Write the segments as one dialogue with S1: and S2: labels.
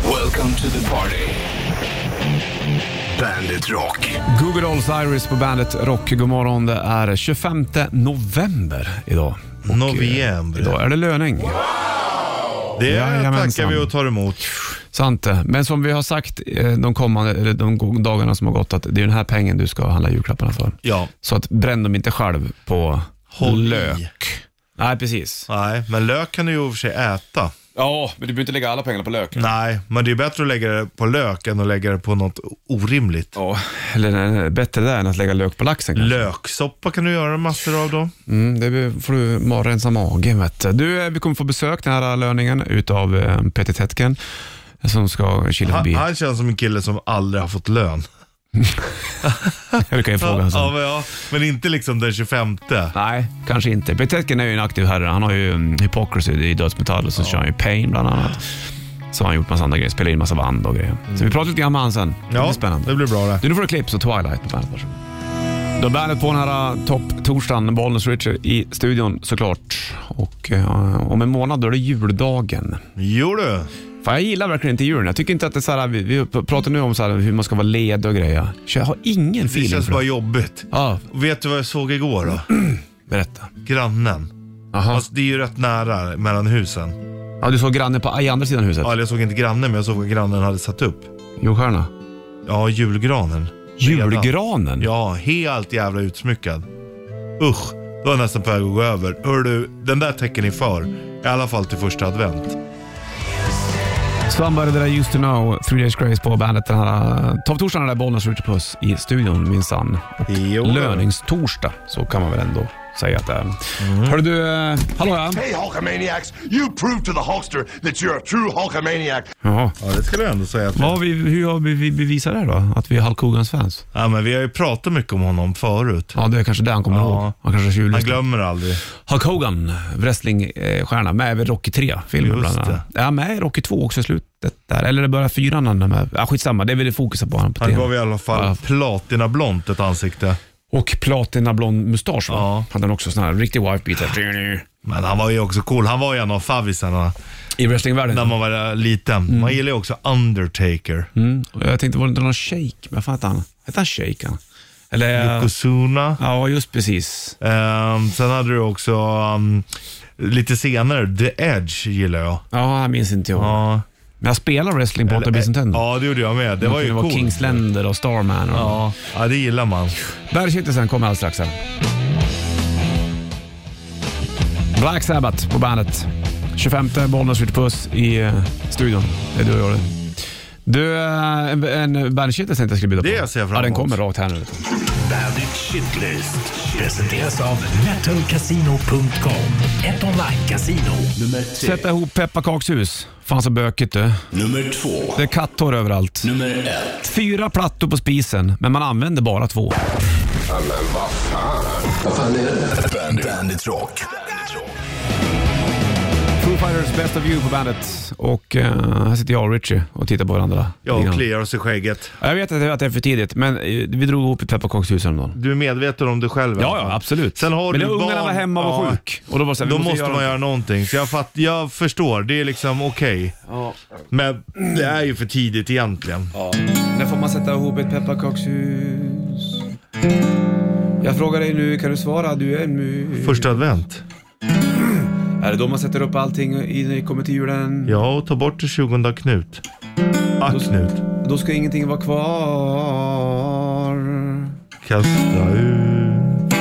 S1: Welcome to the party. Bandit Rock.
S2: Google Dolls Iris på bandet Rock. God morgon, det är 25 november idag. Och,
S3: November.
S2: eh, Idag är det löning.
S3: Det
S2: Jajamensan.
S3: tackar vi och tar emot.
S2: Sant det. Men som vi har sagt eh, de, kommande, eller de go- dagarna som har gått, att det är den här pengen du ska handla julklapparna för.
S3: Ja.
S2: Så att bränn dem inte själv på
S3: Håll i.
S2: lök. Nej, precis.
S3: Nej, men lök kan du ju i och för sig äta.
S2: Ja, men du behöver inte lägga alla pengarna på lök.
S3: Nej, men det är bättre att lägga det på lök än att lägga det på något orimligt.
S2: Ja, eller nej, bättre det än att lägga lök på laxen. kanske.
S3: Löksoppa kan du göra massor av då.
S2: Mm, det får du ma- rensa magen. Vet du. Du, eh, vi kommer få besök den här löningen utav eh, Peter Tätken som ska kila
S3: Han,
S2: förbi.
S3: han känns som en kille som aldrig har fått lön.
S2: Det kan jag fråga
S3: Ja,
S2: honom sen.
S3: ja, men, ja, men inte liksom den 25.
S2: Nej, kanske inte. Peter Tätken är ju en aktiv herre. Han har ju um, Hypocrisy i dödsmetall och så kör han ju Pain bland annat. Så har han gjort massa andra grejer, spelar in massa band och grejer. Så vi pratar lite grann med honom sen. Det blir
S3: Ja,
S2: spännande.
S3: det blir bra det.
S2: Du, nu får du Clips och Twilight på bandet. Varsågod. Då är bandet på den här eh, topp-torsdagen, Bollnäs Richard i studion såklart. Och eh, om en månad då är det juldagen.
S3: Jo du.
S2: Fan, jag gillar verkligen inte julen. Jag tycker inte att det är så här, vi, vi pratar nu om så här, hur man ska vara ledig och grejer. Så jag har ingen
S3: Det
S2: feeling
S3: känns
S2: för
S3: bara
S2: det.
S3: jobbigt.
S2: Ja,
S3: Och vet du vad jag såg igår då?
S2: berätta.
S3: Grannen.
S2: Aha.
S3: Alltså, det är ju rätt nära mellan husen.
S2: Ja, du såg grannen på i andra sidan huset?
S3: Ja, eller jag såg inte grannen, men jag såg vad grannen hade satt upp.
S2: Jordstjärna?
S3: Ja, julgranen. Redan.
S2: Julgranen?
S3: Ja, helt jävla utsmyckad. Usch, då var jag nästan på väg att gå över. Hör du, den där tecken är för. I alla fall till första advent.
S2: Somebody that I used to know, Three Days Grace på bandet den här eh, topptorsdagen där Bollnäs skjuter puss i studion minsann. Och
S3: Jo.
S2: Löningstorsdag, så kan man väl ändå säga att det
S3: Mm.
S2: är. Hörru du, eh, hallå ja.
S1: Hey, Hulkamaniacs, you prove to the Hulkster that you're a true Hulkamaniac.
S2: Jaha.
S3: Ja, det skulle jag ändå säga. Att
S2: Vad har vi, hur har vi vi bevisat det då? Att vi är Hulk Hogans fans?
S3: Ja, men vi har ju pratat mycket om honom förut.
S2: Ja, det är kanske det han kommer
S3: Ja.
S2: ihåg. Han kanske
S3: Han
S2: tjuvlyssnar.
S3: glömmer aldrig.
S2: Hulk Hogan, wrestlingstjärna, med i Rocky 3-filmen
S3: Just
S2: bland annat. Ja, med i Rocky 2 också i slutet där. Eller det börjar fyran han är med. Ja, skitsamma, det är väl det fokuset på honom på
S3: Han
S2: TV.
S3: gav i alla
S2: Ja.
S3: fall platinablont ett ansikte.
S2: Och platinablond mustasch va?
S3: Ja.
S2: Hade han också sån här riktig wife-beater.
S3: Men han var ju också cool. Han var ju en av favvisarna
S2: I wrestlingvärlden.
S3: när man var liten. Man gillar ju också Undertaker.
S2: Mm. Och Jag tänkte, var det inte någon shake? Vad fan hette han? Hette han shake han? Eller?
S3: Yokozuna.
S2: Ja, just precis.
S3: Ehm, sen hade du också ehm, lite senare, The Edge gillar jag.
S2: Ja, han minns inte jag.
S3: Ja.
S2: Men jag spelade wrestling på 8 bits Nintendo.
S3: Ja, det gjorde jag med. Det var ju
S2: kunde vara
S3: coolt.
S2: Kings Länder och Starman. Och...
S3: Ja. ja, det gillar man.
S2: Bergkittisen kommer alldeles strax här. Black Sabbath på bandet. 25 Bollnäs skjuter puss i eh, studion. Det är du och jag det. Du, eh, en, en bandkittelse tänkte jag skulle bjuda på.
S3: Det ser jag fram
S2: Ja, den
S3: emot.
S2: kommer rakt här nu. vet du.
S4: Bandit Shitlist presenteras av metalcasino.com. Ett online-casino.
S1: Nummer tre.
S2: Sätta ihop pepparkakshus. Fan så bökigt du.
S1: Nummer två.
S2: Det är katthår överallt.
S1: Nummer ett.
S2: Fyra plattor på spisen, men man använder bara två.
S1: Bandit, Bandit Rock. Bandit Rock.
S2: Foo Fighters Best of You på bandet. Och eh, här sitter jag och Richie och tittar på varandra. Lite
S3: Ja, och
S2: grann.
S3: kliar oss i skägget.
S2: Ja, Jag vet att det- att det är för tidigt, men eh, vi drog ihop ett pepparkakshus häromdagen.
S3: Du är medveten om det själv? i alla
S2: Ja,
S3: fall.
S2: ja, absolut.
S3: Sen har
S2: men
S3: du
S2: när ungarna
S3: barn-
S2: var hemma och var
S3: Ja.
S2: sjuk. Och då var det så här, vi
S3: Då måste man göra någonting. Så jag, fatt, jag förstår, det är liksom okej. Men det är ju för tidigt egentligen.
S2: När får man sätta ihop ett pepparkakshus? Jag frågar dig nu, kan du svara? Du är en mus.
S3: Första advent.
S2: Är det då man sätter upp allting innan det kommer till julen?
S3: Ja, och ta bort det 20 Knut. Ah, Knut.
S2: Då ska ingenting vara kvar.
S3: Kasta ut.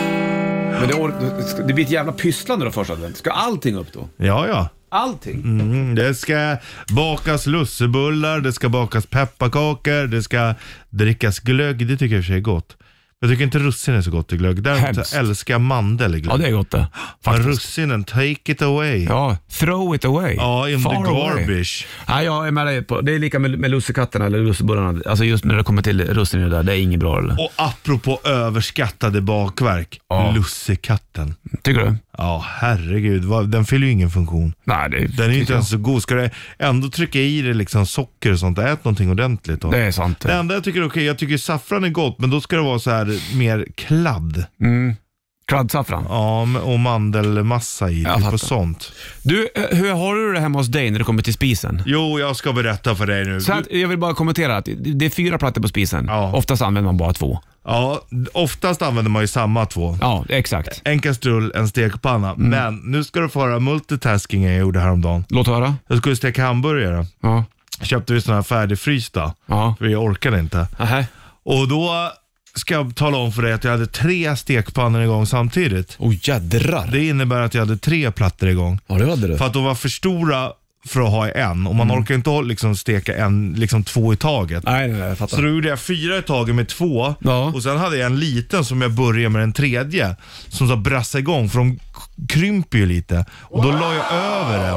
S2: Men det, or- det blir ett jävla pysslande då första advent. Ska allting upp då?
S3: Ja, ja.
S2: Allting?
S3: Mm, det ska bakas lussebullar, det ska bakas pepparkakor, det ska drickas glögg. Det tycker jag i och för sig är gott. Jag tycker inte russin är så gott i glögg. Däremot
S2: Hemskt.
S3: älskar jag mandel i glögg.
S2: Ja, det är gott det.
S3: Men
S2: Faktiskt.
S3: russinen, take it away. Ja,
S2: Ja, throw it away.
S3: in
S2: Far
S3: the
S2: away.
S3: garbage.
S2: Nej, jag är med dig på. Det är lika med, med lussekatterna eller lussebullarna. Alltså just när det kommer till russinen och det där, det är inget bra eller?
S3: Och apropå överskattade bakverk,
S2: Ja.
S3: lussekatten.
S2: Tycker du?
S3: Ja, herregud. vad- Den fyller ju ingen funktion.
S2: Nej, det
S3: Den är ju inte
S2: tycker jag.
S3: ens så god. Ska du ändå trycka i dig liksom socker och sånt, ät någonting ordentligt då.
S2: Det är sant.
S3: Det enda jag tycker är okej, jag tycker saffran är gott, men då ska det vara så här mer kladd.
S2: Kladdsaffran.
S3: Ja, men- och mandelmassa i.
S2: Jag
S3: Typ
S2: fattar.
S3: och sånt.
S2: Du, eh, hur har du det hemma hos dig när det kommer till spisen?
S3: Jo, jag ska berätta för dig nu.
S2: Så att, jag vill bara kommentera att det är fyra plattor på spisen.
S3: Ja.
S2: Oftast använder man bara två.
S3: Ja, oftast använder man ju samma två.
S2: Ja, exakt.
S3: En kastrull, en stekpanna.
S2: Mm.
S3: Men nu ska du få höra multitaskingen jag gjorde häromdagen.
S2: Låt höra.
S3: Jag skulle steka hamburgare.
S2: Ja.
S3: Köpte vi sådana här färdigfrysta.
S2: Ja.
S3: För jag orkade inte.
S2: Aha.
S3: Och då ska jag tala om för dig att jag hade tre stekpannor igång samtidigt.
S2: Oh jädrar.
S3: Det innebär att jag hade tre plattor igång.
S2: Ja, det hade du.
S3: För att de var för stora för att ha i en. Och man orkar inte ha- liksom steka en, liksom två i taget.
S2: Mm. Nej, nej, nej, jag fattar.
S3: Så då gjorde jag fyra i taget med två
S2: Ja.
S3: och sen hade jag en liten som jag började med den tredje som så brassade igång för de k- krymper ju lite. Och då la jag över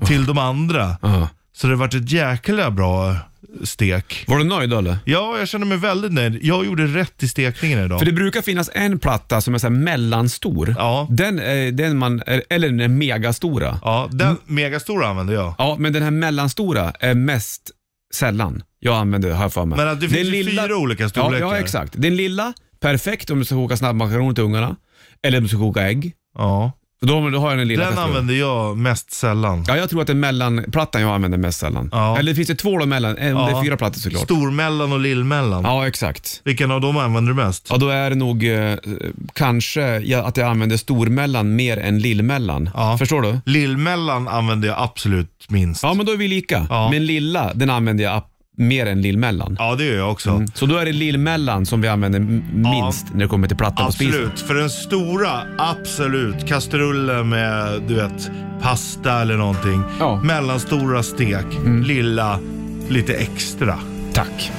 S3: en till de andra.
S2: Ja.
S3: Så det vart ett jäkla bra stek.
S2: Var du nöjd då, eller?
S3: Ja, jag känner mig väldigt nöjd. Jag gjorde rätt i stekningen idag.
S2: För det brukar finnas en platta som är så här mellanstor.
S3: Ja.
S2: Den, är, den man, eller den är megastora.
S3: Ja, den megastora använde jag.
S2: Ja, men den här mellanstora är mest sällan jag använder, har jag för mig.
S3: Men att det
S2: Den
S3: finns ju fyra olika storlekar.
S2: Ja, ja, exakt. Den lilla, perfekt om du ska koka snabbmakaroner till ungarna. Eller om du ska koka ägg.
S3: Ja.
S2: Då, då har jag den lilla
S3: Den
S2: kastrullen.
S3: använde jag mest sällan.
S2: Ja, jag tror att det är mellanplattan jag använder mest sällan.
S3: Ja.
S2: Eller finns det två då mellan? Eh, Om Det är fyra plattor såklart.
S3: Stormellan och lillmellan.
S2: Ja, exakt.
S3: Vilken av dem använder du mest?
S2: Ja, då är det nog eh, kanske jag, att jag använder stormellan mer än lillmellan.
S3: Ja.
S2: Förstår du?
S3: Lillmellan använder jag absolut minst.
S2: Ja, men då är vi lika.
S3: Ja.
S2: Men lilla, den använder jag ap- mer än lillmellan.
S3: Ja, det gör jag också.
S2: Så då är det lillmellan som vi använder m- minst när det kommer till plattan på spisen.
S3: Absolut, för den stora, absolut. Kastruller med, du vet, pasta eller någonting.
S2: Ja. Mm.
S3: Mellanstora stek, lilla, lite extra.
S2: Tack.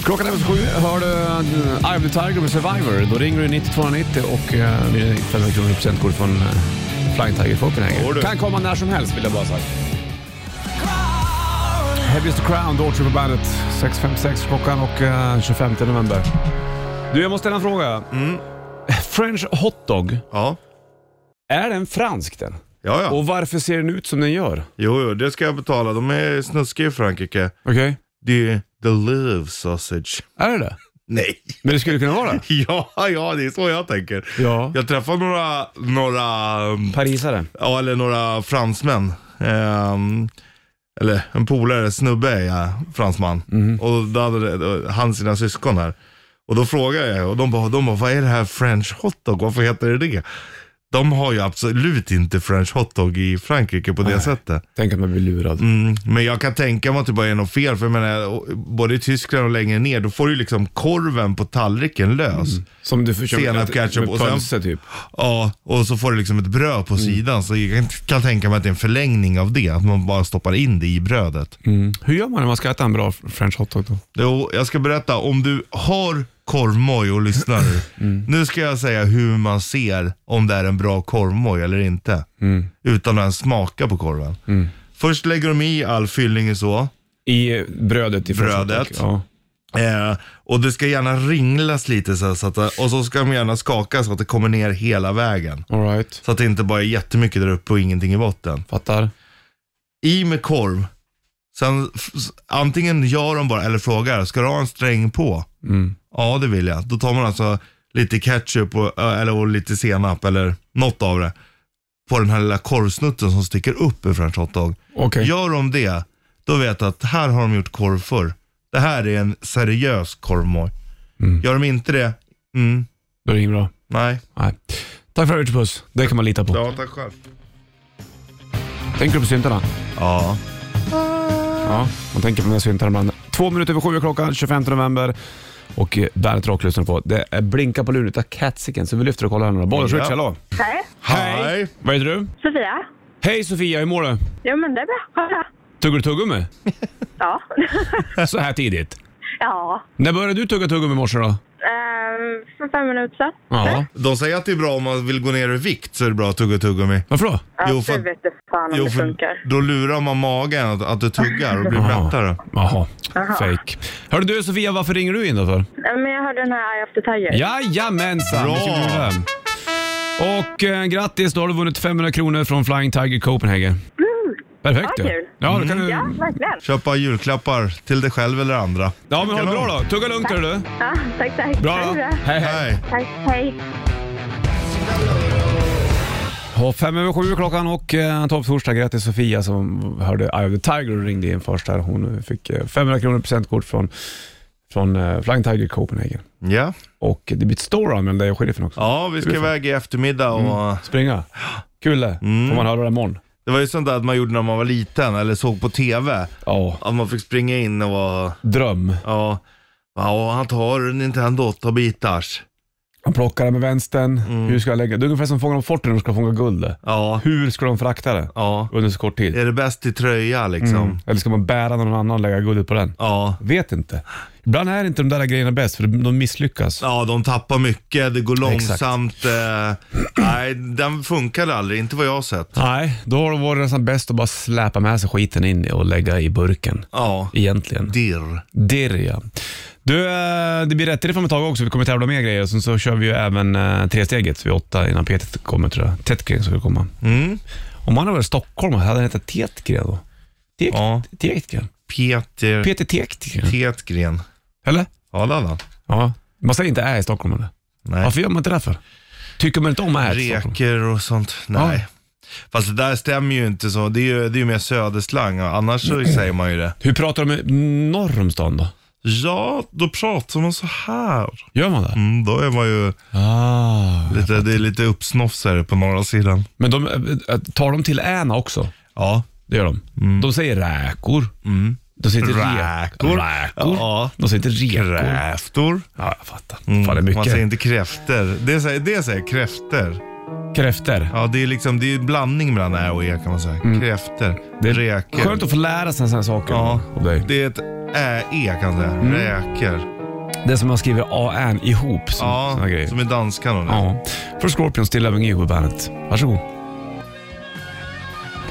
S2: Klockan är sju. Hör du eh, Eye of the Tiger med Survivor, då ringer du 9290 och eh, vinner 500 kronor i presentkort från eh, Flying Tiger
S3: Får
S2: Copenhagen.
S3: du.
S2: Kan komma när som helst vill jag bara säga. Heaviest Crown, Daughtry på bandet. 6.56 klockan och eh, 25 november. Du, jag måste ställa en fråga.
S3: Mm.
S2: French hotdog,
S3: Ja,
S2: är den fransk den?
S3: ja, ja.
S2: Och varför ser den ut som den gör?
S3: Jo, jo, det ska jag betala. De är snuskiga i Frankrike.
S2: Okej.
S3: Det är ju the love sausage.
S2: Är det det?
S3: Nej.
S2: Men det skulle kunna vara det.
S3: Ja, ja, det är så jag tänker.
S2: Ja.
S3: Jag träffade några, några um,
S2: Parisare.
S3: Ja, eller några fransmän. Ehm, eller en polare, snubbe är jag, fransman. Och då hade då- han sina syskon här. Och då frågade jag och de bara, de bara, vad är det här french hotdog? Varför heter det det? De har ju absolut inte french hotdog i Frankrike på det sättet.
S2: Tänk att man blir lurad.
S3: Mm, men jag kan tänka mig att det bara är något fel. För jag menar, och- både i Tyskland och längre ner, då får du ju liksom korven på tallriken lös.
S2: Som du försöker...
S3: Senap,
S2: att-
S3: ketchup
S2: med
S3: och sen-
S2: pölse typ.
S3: Ja, och så får du liksom ett bröd på sidan. Så jag kan, kan tänka mig att det är en förlängning av det. Att man bara stoppar in det i brödet.
S2: Hur gör man när man ska äta en bra french hotdog då?
S3: Jo, jag ska berätta. Om du har korvmoj och lyssnar nu. Nu ska jag säga hur man ser om det är en bra korvmoj eller inte. Utan att ens smaka på korven. Först lägger de i all fyllning och så.
S2: I brödet i french
S3: Brödet.
S2: hotdog, Ja.
S3: Eh, och det ska gärna ringlas lite så, här, så att, och så ska de gärna skaka så att det kommer ner hela vägen.
S2: All right.
S3: Så att det inte bara är jättemycket där uppe och ingenting i botten.
S2: Fattar.
S3: i med korv. Sen f- s- antingen gör de bara eller frågar, ska du ha en sträng på? Ja, det vill jag. Då tar man alltså lite ketchup och, ö, eller, och lite senap eller något av det på den här lilla korvsnutten som sticker upp ur french hotdog.
S2: Okej.
S3: Gör de det, då vet jag att här har de gjort korv förr. Det här är en seriös korvmoj. Gör de inte det, mm,
S2: Då är det inget bra.
S3: nej.
S2: Nej. Tack för övrigt puss. Det kan man lita på.
S3: Ja, tack själv.
S2: Tänker du på syntarna?
S3: Ja.
S2: Ja, man tänker på de där syntarna ibland. Två minuter över sju är klockan, 25 november. Och eh, Bandet Rock lyssnar på. Det är Blinka på luren utav Catsicken, så vi lyfter och kollar här nu då. Bollers
S3: Ja.
S2: Rich, hallå!
S5: Hej,
S3: Hej.
S2: Vad heter du?
S5: Sofia.
S2: Hej Sofia, hur mår du?
S5: Jo men det är bra. Kolla.
S2: Tuggar du tuggummi?
S5: Ja.
S2: Så här tidigt?
S5: ja.
S2: När började du tugga tuggummi i morse då?
S5: Ehm, för fem minuter sedan.
S2: Ja.
S3: De säger att det är bra om man vill gå ner i vikt så är det bra att tugga tuggummi.
S2: Varför då?
S5: Ja,
S3: Jo, för-
S5: Du vet det fan om
S3: Jo,
S5: det
S3: för
S5: funkar.
S3: då lurar man magen att, att du tuggar och blir
S2: Aha.
S3: mättare.
S2: Jaha, fake. Hörru du Sofia, varför ringer du in då för?
S5: Eh, Men jag hörde den här Eye of the Tiger.
S2: Jajamensan!
S3: Bra.
S2: vilken gruva. Och eh, grattis, då har du vunnit 500 kronor från Flying Tiger Copenhagen. Perfekt
S5: Ja,
S2: du.
S5: kul. Mm,
S2: Ja, då kan du...
S5: Ja, verkligen.
S3: Köpa julklappar till dig själv eller andra.
S2: Ja, men ha det
S3: Kanon.
S2: bra då. Tugga lugnt hörru du.
S5: Ja, tack, tack.
S2: Bra
S5: Ha
S2: då.
S5: det
S2: Hej, hej.
S3: Hej.
S5: Tack, hej.
S2: Och fem över sju är klockan och eh, topptorsdag. Grattis Sofia som hörde Eye of the Tiger och ringde in först här. Hon fick eh, 500 kronor i presentkort från, från eh, Flying Tiger Copenhagen.
S3: Ja.
S2: Och det blir ett story mellan dig och sheriffen också.
S3: ja, vi ska iväg i eftermiddag och
S2: Springa. Kul det.
S3: Mm.
S2: Får man höra det imorgon.
S3: det var ju sånt där att man gjorde när man var liten eller såg på TV.
S2: Ja,
S3: Att man fick springa in och
S2: dröm.
S3: ja, ja han tar Nintendo 8-bitars.
S2: Han plockar det med vänstern.
S3: Mm.
S2: Hur ska jag lägga? Det är ungefär som Fångarna på fortet när de ska fånga guld.
S3: Ja,
S2: Hur ska de frakta det
S3: ja.
S2: under så kort tid?
S3: Är det bäst i tröja liksom?
S2: Eller ska man bära någon annan och lägga guldet på den?
S3: Ja.
S2: Vet inte. Ibland är inte de där grejerna bäst för de misslyckas.
S3: Ja, de tappar mycket, det går
S2: Exakt.
S3: långsamt. Eh, nej, den funkade aldrig, inte vad jag har sett.
S2: Nej, då har det varit nästan bäst att bara släpa med sig skiten in och lägga i burken.
S3: Ja,
S2: Egentligen.
S3: dirr.
S2: Dirr ja. Du, eh, det blir rätt i det fram ett tag också. Vi kommer tävla med grejer. Sen så kör vi ju även eh, tresteget vid åtta innan Peter kommer tror jag. Tätgren ska komma.
S3: Mm.
S2: Om han hade varit i Stockholm, hade han hetat Tetgren då? Tek-
S3: Ja.
S2: Tetgren?
S3: Peter
S2: Peter Tetgren?
S3: Tetgren.
S2: Eller?
S3: Ja, det hade han.
S2: Ja. Man säger inte är i Stockholm eller?
S3: Nej.
S2: Varför gör man inte det för? Tycker man inte om är i Stockholm?
S3: Reker och sånt. Nej. Fast det där stämmer ju inte så. Det är ju, det är ju mer söderslang. och Annars så
S2: Mm.
S3: säger man ju det.
S2: Hur pratar de norr om stan då?
S3: Ja, då pratar man så här.
S2: Gör man det?
S3: Mm, då är man ju
S2: Ah.
S3: lite, det är lite uppsnofsare på norra sidan.
S2: Men de, eh, tar de till äna också?
S3: Ja.
S2: Det gör de. De säger räkor. De säger inte re-
S3: Mm. Räkor.
S2: räkor.
S3: Ja.
S2: De säger inte rekor.
S3: Kräftor.
S2: Ja, jag fattar.
S3: Mm,
S2: Fan, det är mycket.
S3: Man säger inte kräfter. Det säger, det säger kräfter.
S2: Kräftor.
S3: Ja, det är liksom det är en blandning mellan ä och e kan man säga. Kräfter.
S2: Mm. Det är
S3: Räker.
S2: skönt att få lära sig sådana saker
S3: Ja,
S2: av dig. Mm.
S3: det är ett ä-e kan man säga. Räker.
S2: Det är som man skriver AN ihop. Som,
S3: Ja,
S2: såna grejer.
S3: som är danskan och det.
S2: Ja. För Scorpions Still Loving You på bandet. Varsågod.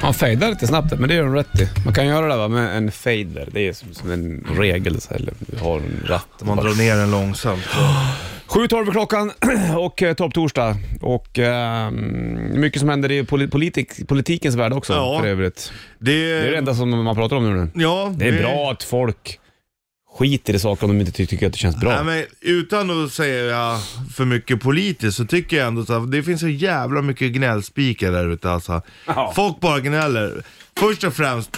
S2: Han fejdar lite snabbt där, men det gör de rätt i. Man kan göra det va, med en fader. Det är som, som en regel. Så här, eller du har en ratt.
S3: Man drar ner den långsamt.
S2: 7.12 är klockan och eh, topptorsdag. Och ehm, mycket som händer i poli- politik, politikens värld också
S3: Ja.
S2: för övrigt.
S3: Det
S2: Det är det enda som man pratar om nu.
S3: Ja,
S2: Det är bra att folk skiter i saker om de inte ty- tycker att det känns bra.
S3: Nej, men utan att säga för mycket politiskt så tycker jag ändå så här, det finns så jävla mycket gnällspikar där ute alltså.
S2: Ja.
S3: Folk bara gnäller. Först och främst,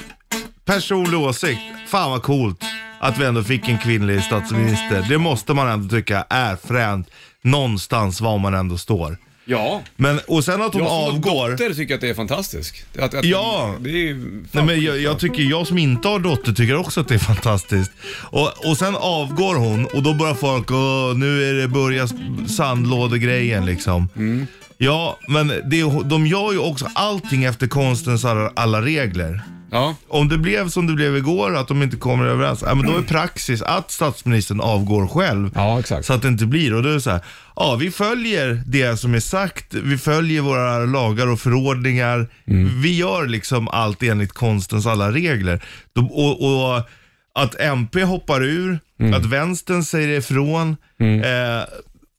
S3: personlig åsikt. Fan vad coolt att vi ändå fick en kvinnlig statsminister. Det måste man ändå tycka är fränt någonstans var man ändå står.
S2: Ja.
S3: Men, och sen att hon
S2: Jag som
S3: avgår.
S2: dotter tycker att det är fantastiskt. Att, att
S3: Ja.
S2: Det är ju...
S3: Nej, men jag, jag tycker, jag som inte har dotter tycker också att det är fantastiskt. Och, och sen avgår hon och då börjar folk, Åh, nu är det börjar sandlådegrejen liksom.
S2: Mm.
S3: Ja, men det, är- de gör ju också allting efter konstens alla, alla regler.
S2: Ja.
S3: Om det blev som det blev igår, att de inte kommer överens, ja, men då är praxis att statsministern avgår själv.
S2: Ja, exakt.
S3: Så att det inte blir. Och då är det så här, ja vi följer det som är sagt, vi följer våra lagar och förordningar. Vi gör liksom allt enligt konstens alla regler. De, och, och att MP hoppar ur, att vänstern säger ifrån. Eh,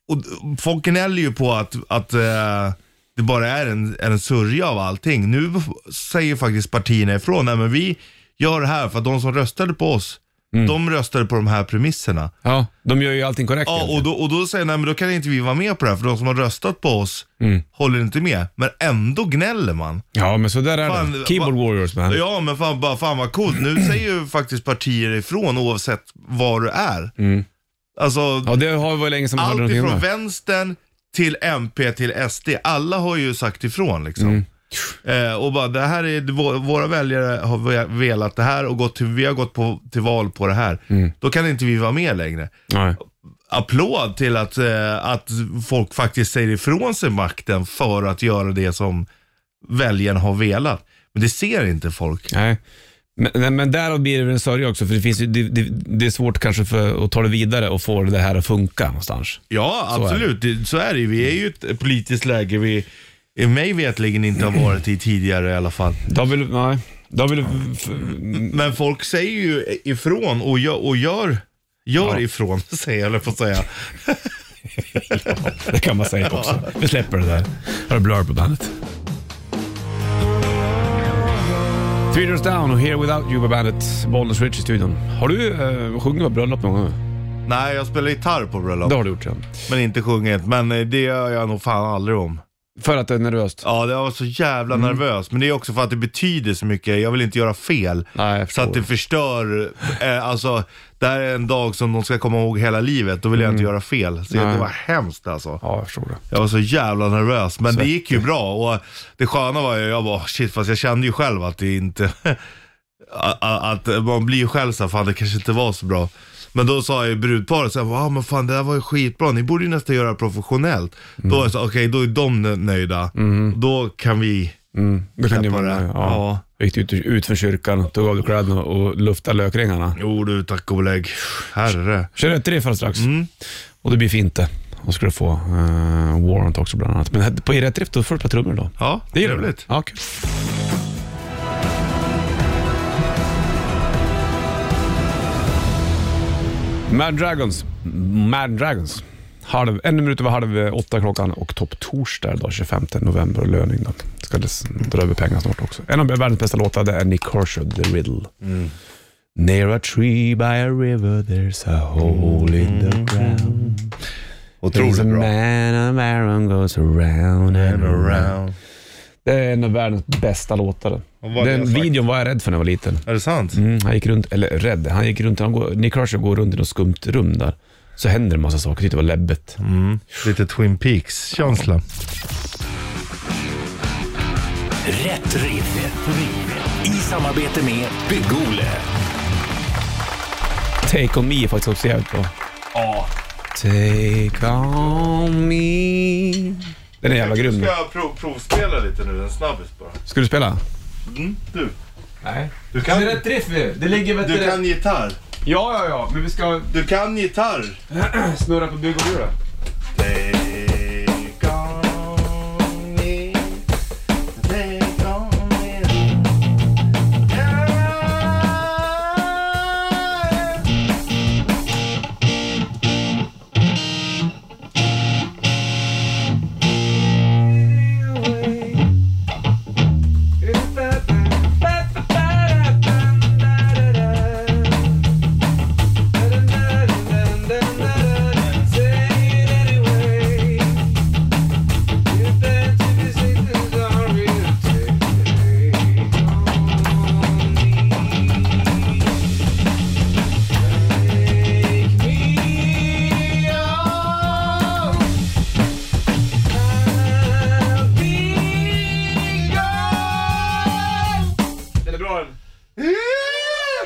S3: och d- folk gnäller ju på att, att eh, det bara är en, en sörja av allting. Nu säger faktiskt partierna ifrån, nej men vi gör det här för att de som röstade på oss, de röstade på de här premisserna.
S2: ja, de gör ju allting korrekt.
S3: Ja,
S2: egentligen.
S3: och då, och då säger jag, nej men då kan inte vi vara med på det här för de som har röstat på oss
S2: Mm.
S3: håller inte med. Men ändå gnäller man.
S2: ja men så där är
S3: Fan,
S2: det. Keyboard
S3: va-
S2: warriors man.
S3: Ja men fan, bara, fan vad coolt. Nu säger ju faktiskt partier ifrån oavsett var du är. Alltså,
S2: Mm. Ja, det har varit länge sedan man hörde
S3: allt
S2: någonting om
S3: ifrån
S2: det.
S3: vänstern till MP till SD. Alla har ju sagt ifrån liksom.
S2: Mm.
S3: Eh, och bara det här är, vå- våra väljare har ve- velat det här och gått till, vi har gått på, till val på det här.
S2: Mm.
S3: Då kan inte vi vara med längre
S2: Nej.
S3: applåd till att, eh, att folk faktiskt säger ifrån sig makten för att göra det som väljarna har velat. Men det ser inte folk.
S2: Nej. Men, men, men därav blir det väl en sörja också, för det, finns ju, det, det, det är svårt kanske för, att ta det vidare och få det här att funka någonstans.
S3: Ja, absolut. Så är det, så är det. ju. Vi är ju ett politiskt läge vi i mig vetligen inte har varit i tidigare i alla fall.
S2: Då vill, nej. Då vill, f,
S3: Men folk säger ju ifrån och gör, och gör, gör ifrån sig, eller på att säga.
S2: det kan man säga också. Vi släpper det där. Här är Blur på bandet. Three Doors Down och Here Without You på bandet. Bollnäs Rich i studion. Har du eh, sjungit på bröllop någon gång?
S3: Nej, jag spelar gitarr på bröllop,
S2: Det har du gjort ja.
S3: men inte sjungit. Men eh, det gör jag nog fan aldrig om.
S2: För att det är nervöst? Mm.
S3: Ja, jag var så jävla nervös. Men det är också för att det betyder så mycket. Jag vill inte göra fel.
S2: Nej, jag
S3: så att
S2: förstår.
S3: det förstör. Eh, alltså, det här är en dag som de ska komma ihåg hela livet. Då vill jag inte
S2: Mm.
S3: göra fel. Så jag- det var hemskt alltså.
S2: Ja, jag förstår det.
S3: Jag var så jävla nervös. Men det gick ju bra. Och det sköna var ju, jag bara "Oh, shit, fast jag kände ju själv att det inte... a- a- att man blir ju själv så här, fan det kanske inte var så bra. Men då sa ju brudparet så här, "Wow, men fan det där var ju skitbra, ni borde ju nästan göra det professionellt.
S2: Mm.
S3: Då var jag så okej då är de nö- nöjda. Då kan vi
S2: Mm. Då kan
S3: släppa
S2: du vara
S3: det. Ja.
S2: med. Ja. Gick ut, ut från kyrkan, tog av dig kläderna och luftade lökringarna.
S3: Jo du, tack och belägg. Herre.
S2: Kör ett riff alldeles strax.
S3: Mm.
S2: Och det blir fint det. Och ska du få eh, Warrant också bland annat. Men här- på i rätt riff, då får du ett par trummor då.
S3: Ja,
S2: Det gillar du?
S3: trevligt.
S2: Ja, kul. Mad Dragons. Mad Dragons. Halv, en minut över halv eh, åtta klockan och topp torsdag idag 25 november och löning då. Ska det s- dra över pengar snart också. En av världens bästa låtar det är Nick Horshud, The Riddle. Near a tree by a river there's a hole in the ground. There's a
S3: Mm-hmm. Otroligt bra.
S2: man of iron goes around and
S3: And
S2: around.
S3: around.
S2: Det är en av världens bästa låtar.
S3: Och vad det
S2: Den
S3: har sagt.
S2: videon var jag rädd för när jag var liten.
S3: Är det sant?
S2: Mm, han gick runt, eller rädd, han gick runt, han går, Nick Crusher går runt i något skumt rum där. Så händer det en massa saker, Jag tyckte det var läbbigt.
S3: Mm. Lite Twin Peaks-känsla.
S2: Mm.
S4: Rätt riff. Rätt riff. I samarbete med Bygg-Ole.
S2: Take on me är faktiskt också jävligt bra. Take on me. Den är jävla grym.
S3: jag prov, provspela lite nu, en snabbis bara.
S2: Ska du spela?
S3: Du,
S2: Nej.
S3: du kan,
S2: Det är rätt riff ju. Det ligger vet
S3: du
S2: du
S3: kan gitarr.
S2: Ja, ja, ja. Men vi ska
S3: Du kan gitarr.
S2: snurra på bygg och bura.
S3: Take on me, take on me. Yeah.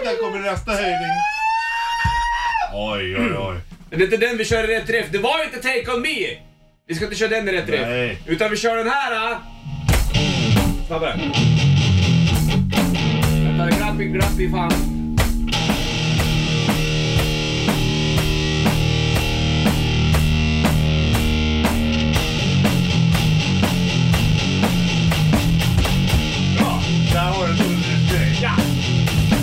S3: Där kommer nästa höjning. Oj, oj, oj.
S2: Men det är inte den vi kör i rätt riff. Det var ju inte Take On Me! Vi ska inte köra den i rätt
S3: Nej.
S2: riff. Utan vi kör den här. ah. Snabbare. Vänta, grappi, grappi, fan.
S3: Där har du en underdrift.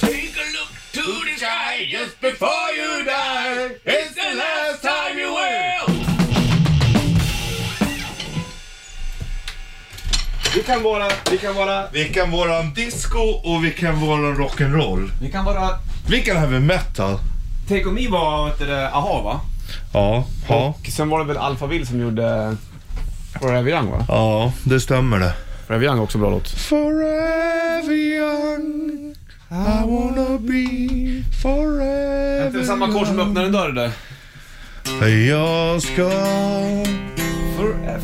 S4: Take a look to the sky just before you die. It's the last time you will.
S2: Vi kan vara... Vi kan vara...
S3: Vi kan våran disco och vi kan våran rock'n'roll.
S2: Vi kan vara...
S3: Vi kan även metal.
S2: Take On Me var, vet du, det, aha va?
S3: Ja, ja.
S2: Och sen var det väl Alphaville som gjorde... Forever Young va?
S3: Ja, det stämmer det.
S2: Forever Young är också bra låt.
S3: Forever young I wanna be forever
S2: Det är samma kort som öppnar en dörr där.
S3: young. Jag ska
S2: Forever.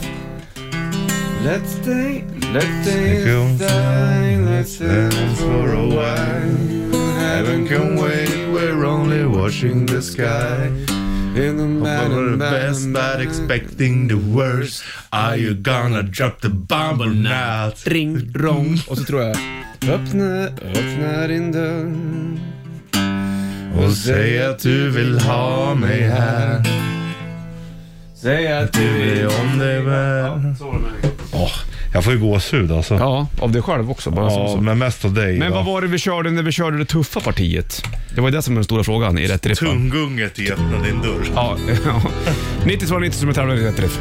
S2: Let's stay, let's stay,
S3: Cool.
S2: stay, let's stay
S3: dance for a while Heaven can wait, we're only watching the sky
S2: In the
S3: But
S2: bad
S3: we're the
S2: and bad
S3: best,
S2: and
S3: not
S2: bad.
S3: expecting the worst Are you gonna drop the bomb or not?
S2: Ring, rong. Och så tror jag... Öppna, öppna din dörr.
S3: Och säg att du vill ha mig här
S2: Säg att
S3: Du är om dig väl Åh, Jag får ju gåshud alltså. Ja,
S2: Ja, av dig själv också. Bara som, som.
S3: men mest av dig.
S2: Men
S3: va?
S2: vad var det vi körde när vi körde det tuffa partiet? Det var ju det som var den stora frågan i Rätt Riff. va?
S3: Tunggunget i Öppna din dörr.
S2: Ja, ja. 90 svar 90 som är tävlande i Rätt Riff.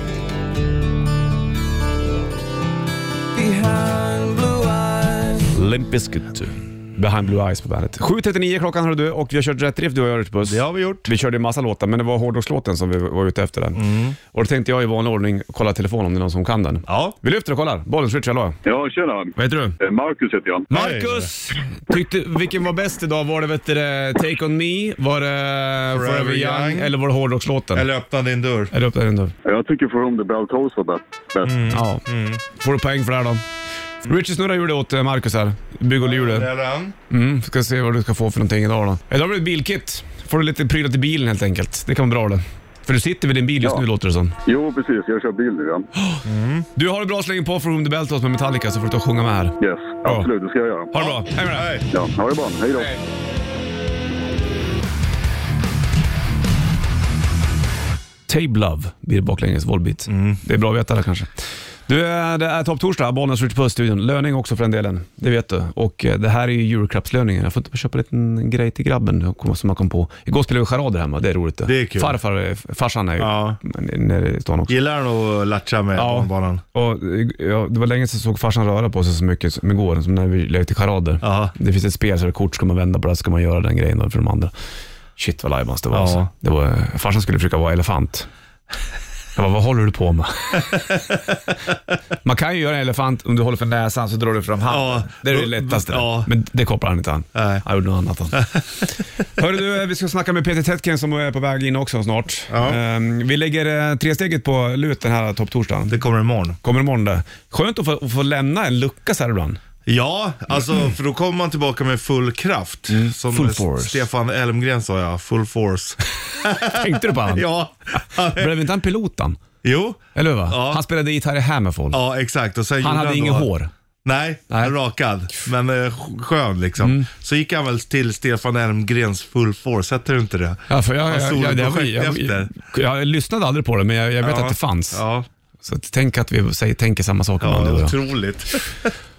S2: Limp Bizkit. Behind Blue Eyes på bandet. 7.39 klockan hörde du och vi har kört Rätt Riff du och jag Ritbuss.
S3: Det har vi gjort.
S2: Vi körde en massa låtar, men det var hårdrockslåten som vi var ute efter. Den. Och då tänkte jag i vanlig ordning kolla telefon om det är någon som kan den.
S3: Ja.
S2: Vi lyfter och kollar. Bollen switch, hallå.
S6: Ja, tjena.
S2: Vad heter du?
S6: Eh, Marcus heter jag.
S2: Marcus! Tyckte, vilken var bäst idag? Var det vet du, det, Take On Me, var det eh, Forever,
S3: Forever
S2: young,
S3: Young,
S2: eller var det hårdrockslåten?
S3: Eller Öppna din dörr.
S2: Är det upp där ändå?
S6: Jag tycker From the Bell Tolls var bäst. bäst.
S2: Ja. Mm. Får du poäng för det här då? Richie snurrar hjulet åt eh, Marcus här. Bygg och
S3: Där
S2: hjulet.
S3: är den.
S2: Mm, ska se vad du ska få för någonting idag då. Idag blir det ett bilkit. Får du lite prylar till bilen helt enkelt. Det kan vara bra det. För du sitter vid din bil just
S6: Ja.
S2: nu låter det som.
S6: Jo, precis. Jag kör bil nu. Ja.
S2: Du har det bra så länge på för Whom the Bell Tolls med Metallica så får du ta och sjunga med här.
S6: Yes, absolut. Det ska jag göra.
S2: Ha det bra. Hej med dig.
S3: Hej.
S6: Ja, ha det bra. Hej då.
S2: Tabe Love blir det baklänges volbeat.
S3: Mm.
S2: Det är bra att veta det kanske. Du, eh, det är topptorsdag, Bollnäs Ritch Puss-studion. Löning också för den delen, det vet du. Och eh, det här är ju julklappslöningen. Jag får inte köpa en liten grej till grabben som man kom på. Igår spelade vi charader hemma, det är roligt
S3: Det är kul.
S2: Farfar, eh, farsan är ju
S3: Ja.
S2: nere i stan också.
S3: Gillar han att latcha med
S2: Ja.
S3: barnbanan?
S2: Och, eh, ja, det var länge sedan jag såg farsan röra på sig så mycket som igår, som när vi lekte charader.
S3: Ja.
S2: Det finns ett spel, så det är kort ska man vända på det, ska man göra den grejen då för de andra. Shit vad lajbans det var.
S3: Ja.
S2: Alltså. Det var eh, farsan skulle försöka vara elefant. Jag bara, vad håller du på med? man kan ju göra en elefant om du håller för näsan så drar du fram handen.
S3: Ja.
S2: det är det
S3: Då-
S2: lättaste.
S3: ja.
S2: Men det kopplar han inte an.
S3: Nej.
S2: Han gjorde något annat han. Hörru du, eh, vi ska snacka med Peter Tetken som är på väg in också snart.
S3: Ja.
S2: Ehm, Vi lägger eh, tresteget på lut den här topptorsdagen.
S3: Det kommer imorgon.
S2: Kommer imorgon det. Skönt att få, att få lämna en lucka så här ibland.
S3: Ja, alltså för då kommer man tillbaka med full kraft. Som
S2: full force.
S3: Stefan Elmgren sa ja, full force.
S2: Tänkte du på han?
S3: ja. han-
S2: Blev inte han piloten?
S3: Jo,
S2: Eller hur? va?
S3: Ja.
S2: Han spelade gitarr i Hammerfall.
S3: ja exakt. Och sen
S2: han
S3: gjorde
S2: hade inget
S3: då-
S2: hår.
S3: Nej,
S2: Nej. Mm.
S3: rakad. Men eh, skön liksom. Så gick han väl till Stefan Elmgrens full force, hette det inte det?
S2: Ja, för jag,
S3: Han
S2: jag,
S3: såg
S2: jag, det här var-
S3: projekt
S2: jag,
S3: efter.
S2: jag, jag, lyssnade aldrig på det, men jag, jag vet
S3: Ja.
S2: att det fanns.
S3: Ja,
S2: Så att tänk att vi säger, tänker samma sak.
S3: ja
S2: ibland, du och jag.
S3: otroligt.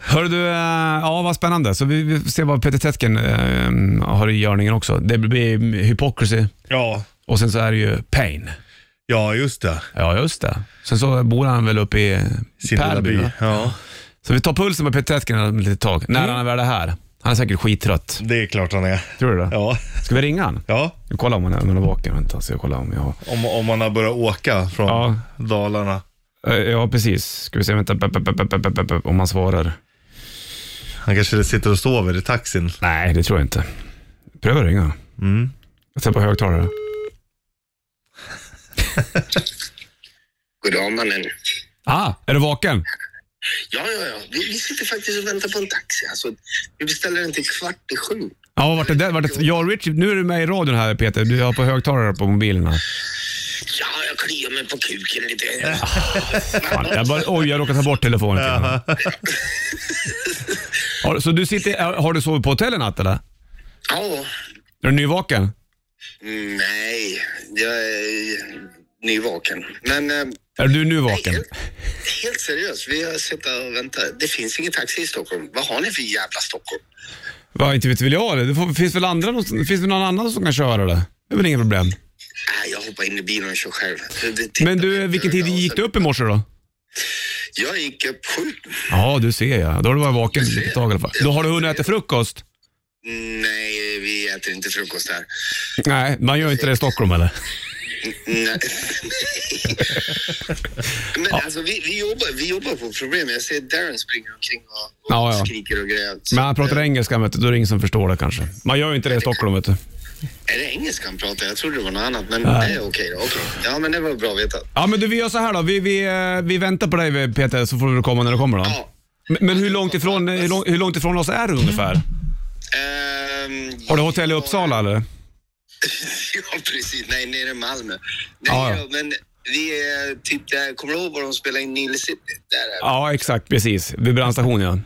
S2: Hör du, eh, ja vad spännande. Så vi, vi ser vad Peter Tetken eh, har i görningen också. Det blir Hypocrisy
S3: ja.
S2: och sen så är det ju Pain.
S3: ja, just det.
S2: Ja, just det. Sen så bor han väl uppe i
S3: Sin lilla
S2: Pärlby. va?
S3: by. Ja,
S2: Så vi tar pulsen med Peter Tetken om ett litet tag. När han är väl är här. Han är säkert skittrött.
S3: det är klart han är.
S2: Tror du det?
S3: Ja,
S2: Ska vi ringa han?
S3: ja.
S2: Jag kollar om han är, om han är vaken. Vänta, så jag kollar om jag har...
S3: Om, om man har börjat åka från
S2: Ja.
S3: Dalarna.
S2: Eh, Ja, precis. Ska vi se, vänta, pep, pep, pep, pep, pep, pep, pep, om han svarar.
S3: Han kanske sitter och sover i taxin.
S2: Nej, det tror jag inte. Pröva att ringa.
S3: Mm.
S2: Jag sätter på högtalare.
S7: Goddag mannen.
S2: Ah, är du vaken?
S7: Ja, ja, ja. Vi, vi sitter faktiskt och väntar på en taxi. Alltså, vi beställer den till kvart i sju.
S2: Ja, vart är det? Vart är det? Ja, Richard, nu är du med i radion här Peter. Du har på högtalare på mobilen här.
S7: Ja, jag kliar mig på kuken lite.
S2: Fan, jag bara, oj, jag råkade ta bort telefonen. Har, så du sitter, har- har du sovit på hotell i natt eller?
S7: Ja.
S2: Är du nyvaken?
S7: Mm, Nej, jag är nyvaken. Men eh,
S2: Är du nu vaken?
S7: helt, helt seriöst, vi har suttit och väntat. Det finns ingen taxi i Stockholm. Vad har ni för jävla Stockholm?
S2: Va, inte vet väl jag det. det får, finns, väl andra, någonstans- finns väl någon annan som kan köra det? Det är väl inga problem.
S7: Nej, jag hoppar in i bilen och kör själv.
S2: Men du, vilken tid gick du upp i morse då?
S7: Jag gick upp sju.
S2: Ja, du ser ja. Då har du varit vaken ett tag i alla fall. Då har du hunnit äta frukost?
S7: Nej, vi äter inte frukost här.
S2: Nej, man gör inte det i Stockholm eller?
S7: Nej. Eh, Men alltså, vi, vi, jobbar, vi jobbar på problem. Jag ser Darren springa omkring och, och
S2: Ja, ja.
S7: skriker och grät. Så,
S2: Men han pratar engelska, vet du. då är det ingen som förstår det kanske. Man gör ju inte det i Stockholm. Vet du.
S7: Är det engelska han pratar? Jag trodde det var något annat, men det är okej. då. Okej. Ja, men det var bra att veta.
S2: Ja, men du, vi gör så här då. Vi, vi, eh, vi väntar på dig Peter, så får du komma när du kommer då.
S7: Ja.
S2: Men- Men hur långt, ifrån, hur, långt, hur långt ifrån oss är du ungefär?
S7: Ehm,
S2: Har du hotell i Uppsala eller?
S7: Ja, precis. Nej, nere i Malmö. Nej,
S2: Ja, ja.
S7: ja, men vi är typ där. Kommer du ihåg var de spelade in Nile City? Där är vi.
S2: Ja, exakt. Precis. Vid brandstationen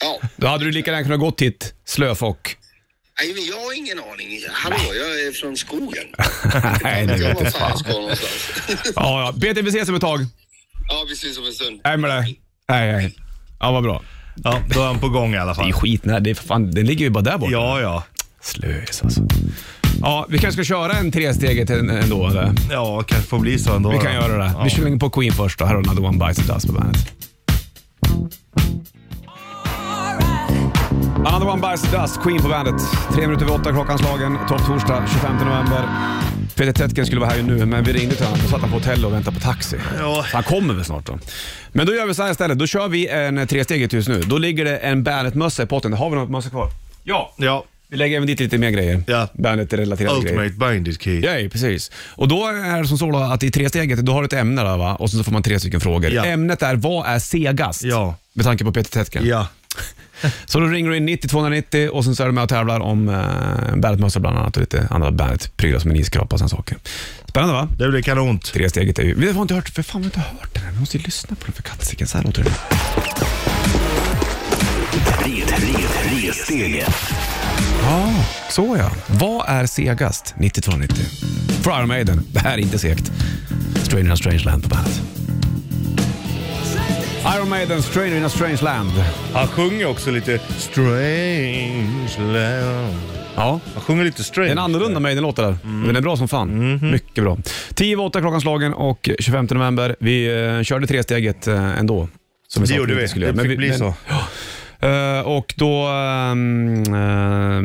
S2: ja.
S7: Ja.
S2: Då hade du lika gärna kunnat gått hit, slöfock.
S7: Nej, men jag har ingen aning. Hallå, jag är från skogen.
S2: Nej, det
S7: Jag
S2: vet
S7: var
S2: jag
S7: fan jag
S2: fan.
S7: ska någonstans.
S2: Ja, ja. BT, vi ses om ett tag.
S7: Ja, vi syns om en stund.
S2: Nej, men det. Nej, nej. Ja, vad bra.
S3: Ja, då är han på gång i alla
S2: Det är
S3: fall.
S2: skit. Nej, det är för fan, den ligger ju bara där borta.
S3: Ja, ja.
S2: Slöis alltså. Ja, vi kanske ska köra en tresteget än- ändå. Eller?
S3: Ja, kanske får bli så ändå.
S2: Vi
S3: då.
S2: kan göra det.
S3: Ja.
S2: Vi slänger på Queen först då. Här har Another One Bites the Dust på bandet. Another One Bites the Dust, Queen på bandet. Tre minuter över åtta klockan slagen. Topp torsdag 25 november. Peter Tätken skulle vara här ju nu, men vi ringde till honom. Då satt han på hotellet och väntade på taxi.
S3: Ja.
S2: Så han kommer väl snart då. Men då gör vi så här istället. Då kör vi en eh, tresteget just nu. Då ligger det en Bandet-mössa i potten. Har vi någon mössa kvar? Ja.
S3: Ja,
S2: Vi lägger även dit lite mer grejer.
S3: Ja.
S2: Bandet-relaterade grejer.
S3: Ultimate Binded Key.
S2: Ja, precis. Och då är det som så då att i tre steget, då har du ett ämne där, va? och så får man tre stycken frågor.
S3: Ja.
S2: Ämnet är vad är segast?
S3: Ja.
S2: Med tanke på Peter Tätken.
S3: Ja.
S2: Så då ringer du in 90 290 och sen så är du med och tävlar om eh, Bandet-mössa bland annat och lite andra Bandet-prylar som en iskrapa och sådana saker. Spännande va?
S3: Det blir kanont.
S2: Tre steget är ju... Vi har inte hört, för fan vi har inte hört den här. Vi måste ju lyssna på den för katsiken. Så här låter den. Ja, Ah, så ja. Vad är segast 9290? För Iron Maiden. Det här är inte segt. Stranger in a strange land på bandet. Iron Maiden, Stranger in a strange land.
S3: Han sjunger också lite strange land.
S2: Ja,
S3: Han sjunger lite
S2: det
S3: strange.
S2: är en annorlunda Maiden-låt det där.
S3: Mm.
S2: Men den är bra som fan.
S3: Mhm.
S2: Mycket bra. 10 över 8 klockan slagen och 25 november. Vi eh, körde tresteget eh, ändå. Som vi sa
S3: Det
S2: att
S3: gjorde
S2: inte
S3: vi.
S2: skulle
S3: Det
S2: göra. Men
S3: fick bli
S2: men-
S3: så.
S2: Eh, och då ehm,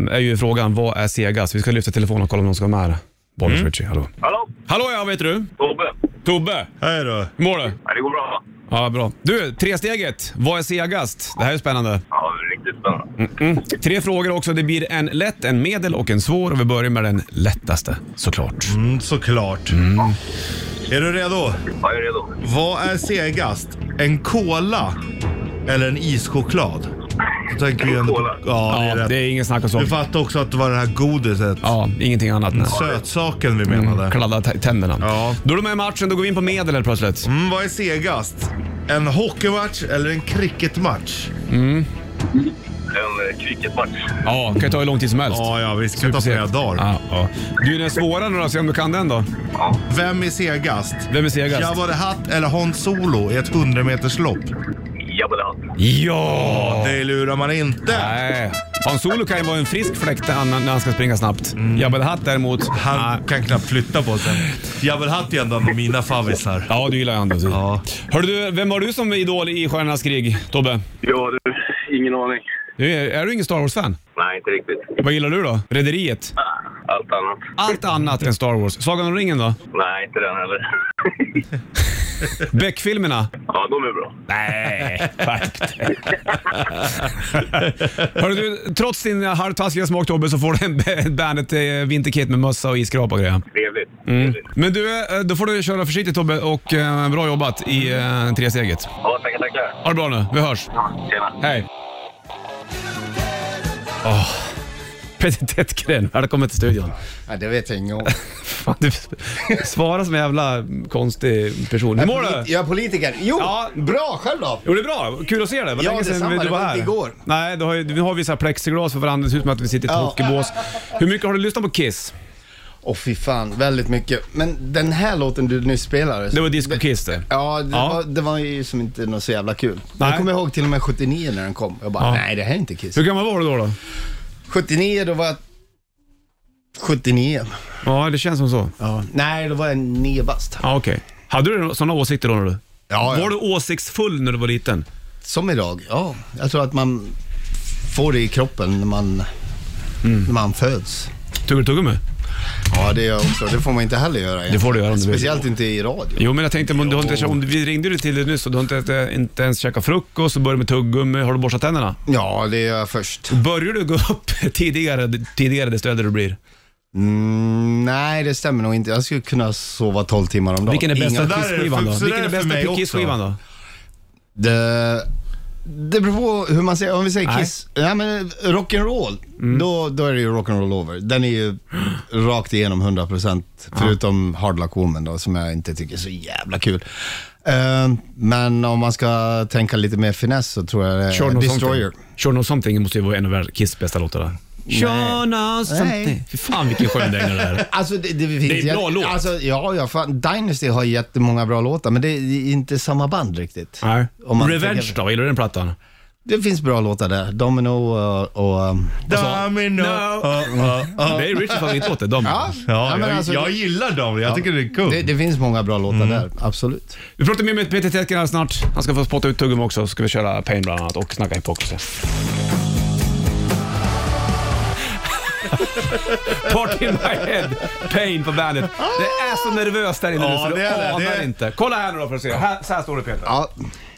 S2: eh, är ju frågan, vad är segast? Vi ska lyfta telefonen och kolla om någon ska vara med. Bollnäs
S3: Mm.
S2: Richie, hallå.
S8: Hallå?
S2: Hallå ja, vet du?
S8: Tobbe?
S2: Tobbe,
S3: Hej då.
S2: hur mår du?
S8: Ja, det går bra.
S2: Ja, bra. Du, tresteget. Vad är segast? Det här är spännande. Mm,
S8: Ja, det är riktigt spännande.
S2: Tre frågor också. Det blir en lätt, en medel och en svår. Och vi börjar med den lättaste, såklart.
S3: Mm, såklart. Är du redo?
S8: Ja, jag är redo.
S3: Vad är segast? En cola eller en ischoklad? Då tänker vi ändå
S8: Cola.
S3: på... Ja, det är
S2: Ja,
S3: rätt.
S2: det är ingen snack om
S3: Du
S2: saken.
S3: fattar också att det var det här godiset.
S2: Ja, Mm, ingenting annat. Nej.
S3: Sötsaken vi menade.
S2: Kladda t- tänderna.
S3: Ja.
S2: Då är de med i matchen. Då går vi in på medel helt plötsligt.
S3: Mm, vad är segast? En hockeymatch eller en cricketmatch?
S8: En eh, cricketmatch.
S2: Ja, kan ju ta hur lång tid som helst.
S3: Ja, ja, visst. Kan ta flera dagar.
S2: Ja, ja. Du, den svåra nu då. Se om du kan den då.
S3: Vem är segast?
S2: Vem är segast?
S3: Jabba the Hutt eller Hans Solo i ett 100-meterslopp?
S8: Jabba the Hutt.
S2: Ja!
S3: Det lurar man inte.
S2: Nej. Hans Solo kan ju vara en frisk fläkt när han- när han ska springa snabbt.
S3: Mm.
S2: Jabba the Hutt däremot.
S3: Han kan knappt flytta på sig. Jabba the Hutt är ändå en av mina favvisar.
S2: Ja, du gillar ju han. Ja.
S3: Ja.
S2: Hörru du, vem har du som idol i Stjärnornas krig, Tobbe?
S8: Ja, du. Ingen aning.
S2: Du är, är du ingen Star Wars-fan?
S8: Nej, inte riktigt.
S2: Vad gillar du då? Rederiet?
S8: Allt annat.
S2: Allt annat än Star Wars. Sagan om ringen då?
S8: Nej, inte den heller.
S2: Beck-filmerna?
S8: ja, de är bra.
S2: Nej, skärp dig. Hörru du, trots din halvtaskiga smak Tobbe så får du en B- Bandet eh, vinterkit med mössa och isskrapa och grejer.
S8: Trevligt. Trevligt.
S2: Men du, eh, då får du köra försiktigt Tobbe och eh, bra jobbat i eh, tresteget.
S8: Ja, tackar, tackar.
S2: Ha det bra nu, vi hörs.
S8: Tjena.
S2: Hej! Åh, Peter Tättgren, välkommen till studion.
S9: Ja, det vet jag inget om.
S2: Fan, du svarar som en jävla konstig person. Hur mår du?
S9: Jag är politiker. Jo,
S2: Ja.
S9: bra själv då?
S2: Jo, det är bra. Kul att se dig. Vad
S9: Ja,
S2: länge sedan
S9: detsamma.
S2: du
S9: Det
S2: var
S9: var
S2: här.
S9: inte igår.
S2: Nej, du har, ju- vi har vissa plexiglas för varandra. Det ser ut som att vi sitter i ett
S9: Ja.
S2: hockeybås. Hur mycket har du lyssnat på Kiss?
S9: Åh fy fan, väldigt mycket. Men den här låten du nyss spelade.
S2: Det var Disco Kiss det.
S9: Ja, det,
S2: Ja.
S9: Var, det var ju som inte något så jävla kul.
S2: Nej.
S9: Jag kommer ihåg till och med 79 när den kom. Jag bara,
S2: Ja.
S9: nej det här är inte Kiss.
S2: Hur gammal var du då? då?
S9: 79, då var jag 79.
S2: Ja, det känns som så.
S9: Ja. Nej, då var jag nio bast.
S2: Ja, okej. Hade du sådana åsikter då? när du?
S9: Ja,
S2: Var
S9: ja.
S2: du åsiktsfull när du var liten?
S9: Som idag, ja. Jag tror att man får det i kroppen när man,
S2: Mm.
S9: när man föds.
S2: Tuggar du tuggummi?
S9: Ja, det gör jag också. Det får man inte heller göra.
S2: Det får du göra om du vill.
S9: Speciellt inte i radio.
S2: Jo, men jag tänkte om du har inte, om vi ringde dig till dig nyss och du har inte, inte ens käkat frukost och börjat med tuggummi. Har du borstat tänderna?
S9: Ja, det gör jag först.
S2: Börjar du gå upp tidigare, tidigare desto äldre du blir?
S9: Mm, nej, det stämmer nog inte. Jag skulle kunna sova 12 timmar om dagen.
S2: Vilken är
S9: Inga-
S2: bästa
S3: där är det
S2: Kiss-skivan då?
S3: för- så
S2: Vilken är
S3: där är för
S2: bästa
S3: mig
S2: Kiss-skivan då?
S9: Det, det beror på hur man säger, om vi säger
S2: Nej.
S9: Kiss. Nej. men rock'n'roll,
S3: Mm.
S9: då, då är det ju rock'n'roll over. Den är ju rakt igenom 100% förutom Hard Luck Woman då, som jag inte tycker är så jävla kul. Eh, men om man ska tänka lite mer finess så tror jag det
S2: Sure
S9: är
S2: No
S9: Destroyer.
S2: Something. Sure No Something måste ju vara en av världens- Kiss bästa låtar. där. Shona something.
S9: Nej.
S2: Fy fan vilken skön dänga det är.
S9: Alltså det, det, finns
S2: Det är en bra
S9: jätte-
S2: låt.
S9: Alltså, ja, ja fan, Dynasty har jättemånga bra låtar, men det är inte samma band riktigt. Om man
S2: Revenge
S9: tänker-
S2: då, gillar du den plattan?
S9: Det finns bra låtar där. Domino och... och um,
S3: Domino.
S2: No.
S9: Alltså,
S3: Oh, oh, oh.
S2: Det är Richards favoritlåt det, de.
S9: ja,
S3: Ja,
S9: men
S3: jag,
S9: alltså,
S3: jag gillar dem. Jag tycker det är Mm. kul.
S9: det, det finns många bra låtar där, absolut.
S2: Vi pratar mer med Peter Tätken alldeles snart. Han ska få spotta ut tuggummi också, så ska vi köra Pain bland annat och snacka Hypocrisy. Party in my head, Pain på bandet. Det är så nervöst där inne nu
S3: Ja,
S2: så du
S3: det är det.
S2: anar
S3: Det är-
S2: inte. Kolla här nu då för att se. Här, så här står det Peter.
S9: Ja,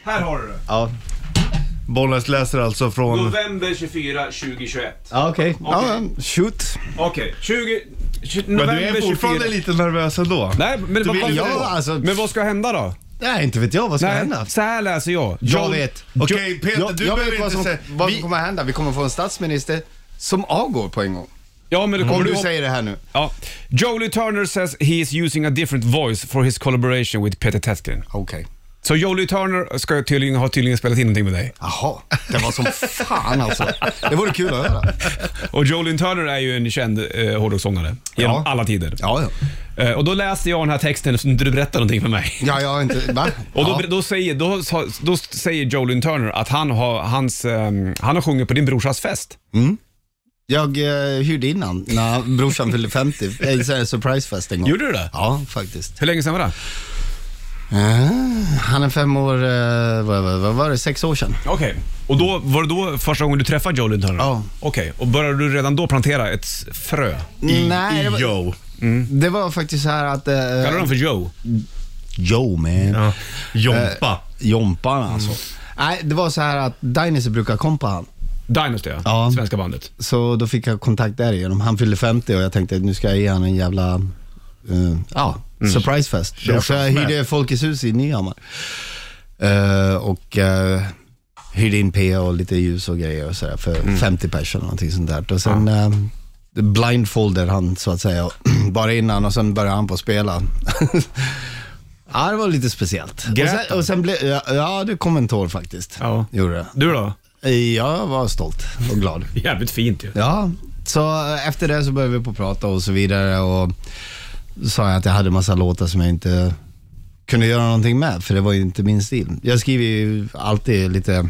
S2: Här har du det.
S9: ja.
S3: Bollnäs läser alltså från...
S2: November 24, 2021.
S3: Ah,
S9: ja okej. Ja, shoot.
S2: Okej, 20... 20
S3: Men
S2: november
S3: du är fortfarande
S2: 24.
S3: lite nervös ändå.
S2: Nej, men, vad-
S9: vill-
S2: vad-
S9: Ja, alltså-
S2: men vad ska hända då?
S9: Nej, inte vet jag vad som ska
S2: Nej,
S9: hända.
S2: så här läser jag.
S9: Jag
S2: John-
S9: vet.
S3: Okej, Peter,
S9: jag
S3: du
S9: jag
S3: behöver
S9: vet vad
S3: inte
S9: som,
S3: säga...
S9: vad som
S3: Vi-
S9: kommer hända. Vi kommer få en statsminister som avgår på en gång.
S3: Mm.
S2: Ja, men det kommer
S9: Om
S2: du
S9: Mm, du
S2: ihåg-
S9: säger det här nu.
S2: Ja. Jolie Turner says he is using a different voice for his collaboration with Peter Tetkin.
S9: Okej.
S2: Så Jolie Turner ska tydligen, har tydligen spelat in någonting med dig.
S9: Jaha, det var som fan alltså. Det vore kul att höra.
S2: Och Jolie Turner är ju en känd eh, hårdrockssångare genom
S9: Ja.
S2: alla tider.
S9: Ja, ja.
S2: Eh, och då läser jag den här texten så inte du berättar någonting för mig.
S9: Ja, jag har inte... Va?
S2: Och då,
S9: ja.
S2: då, säger, då, sa- då säger Jolin Turner att han har, hans, ehm, han har sjungit på din brorsas fest.
S9: Jag eh, hyrde innan när brorsan fyllde 50. En sån här surprisefest en gång.
S2: Gjorde du det?
S9: Ja, faktiskt.
S2: Hur länge sedan var det?
S9: Ah, han är fem år, eh, vad, vad, vad var det, sex år sedan?
S2: Okej. Och då, var det då första gången du träffade Jolin Turner?
S9: Ja.
S2: Okej, och började du redan då plantera ett frö?
S9: Nej, det var,
S3: Yo.
S9: det var faktiskt så här att... eh,
S2: Mm. Kallar du honom för Joe?
S9: Yo man.
S3: Ja. Jompa.
S9: Jompan alltså.
S2: Mm.
S9: Nej, det var så här att Dynasty brukar kompa han.
S2: Dynasty, ja.
S9: Ja.
S2: Svenska bandet.
S9: Så då fick jag kontakt därigenom. Han fyllde 50 och jag tänkte nu ska jag ge honom en jävla eh, ja, surprisefest.
S3: Kör
S9: Så jag
S3: smash.
S9: hyrde Folkets hus i Nyhammar. Eh, och eh, hyrde in PA och lite ljus och grejer och sådär för 50 pers eller någonting sånt där. Och sen ja. blindfolder han så att säga bara innan och sen började han på att spela. ja, det var lite speciellt. Och
S2: Grät
S9: sen, och sen blev, ja, ja, det kom en tår faktiskt.
S2: Ja.
S9: Gjorde det.
S2: Du då?
S9: Jag var stolt och glad.
S2: Jävligt fint ju.
S9: Ja, så eh, efter det så började vi på att prata och så vidare och sa jag att jag hade massa låtar som jag inte kunde göra någonting med för det var ju inte min stil. Jag skriver ju alltid lite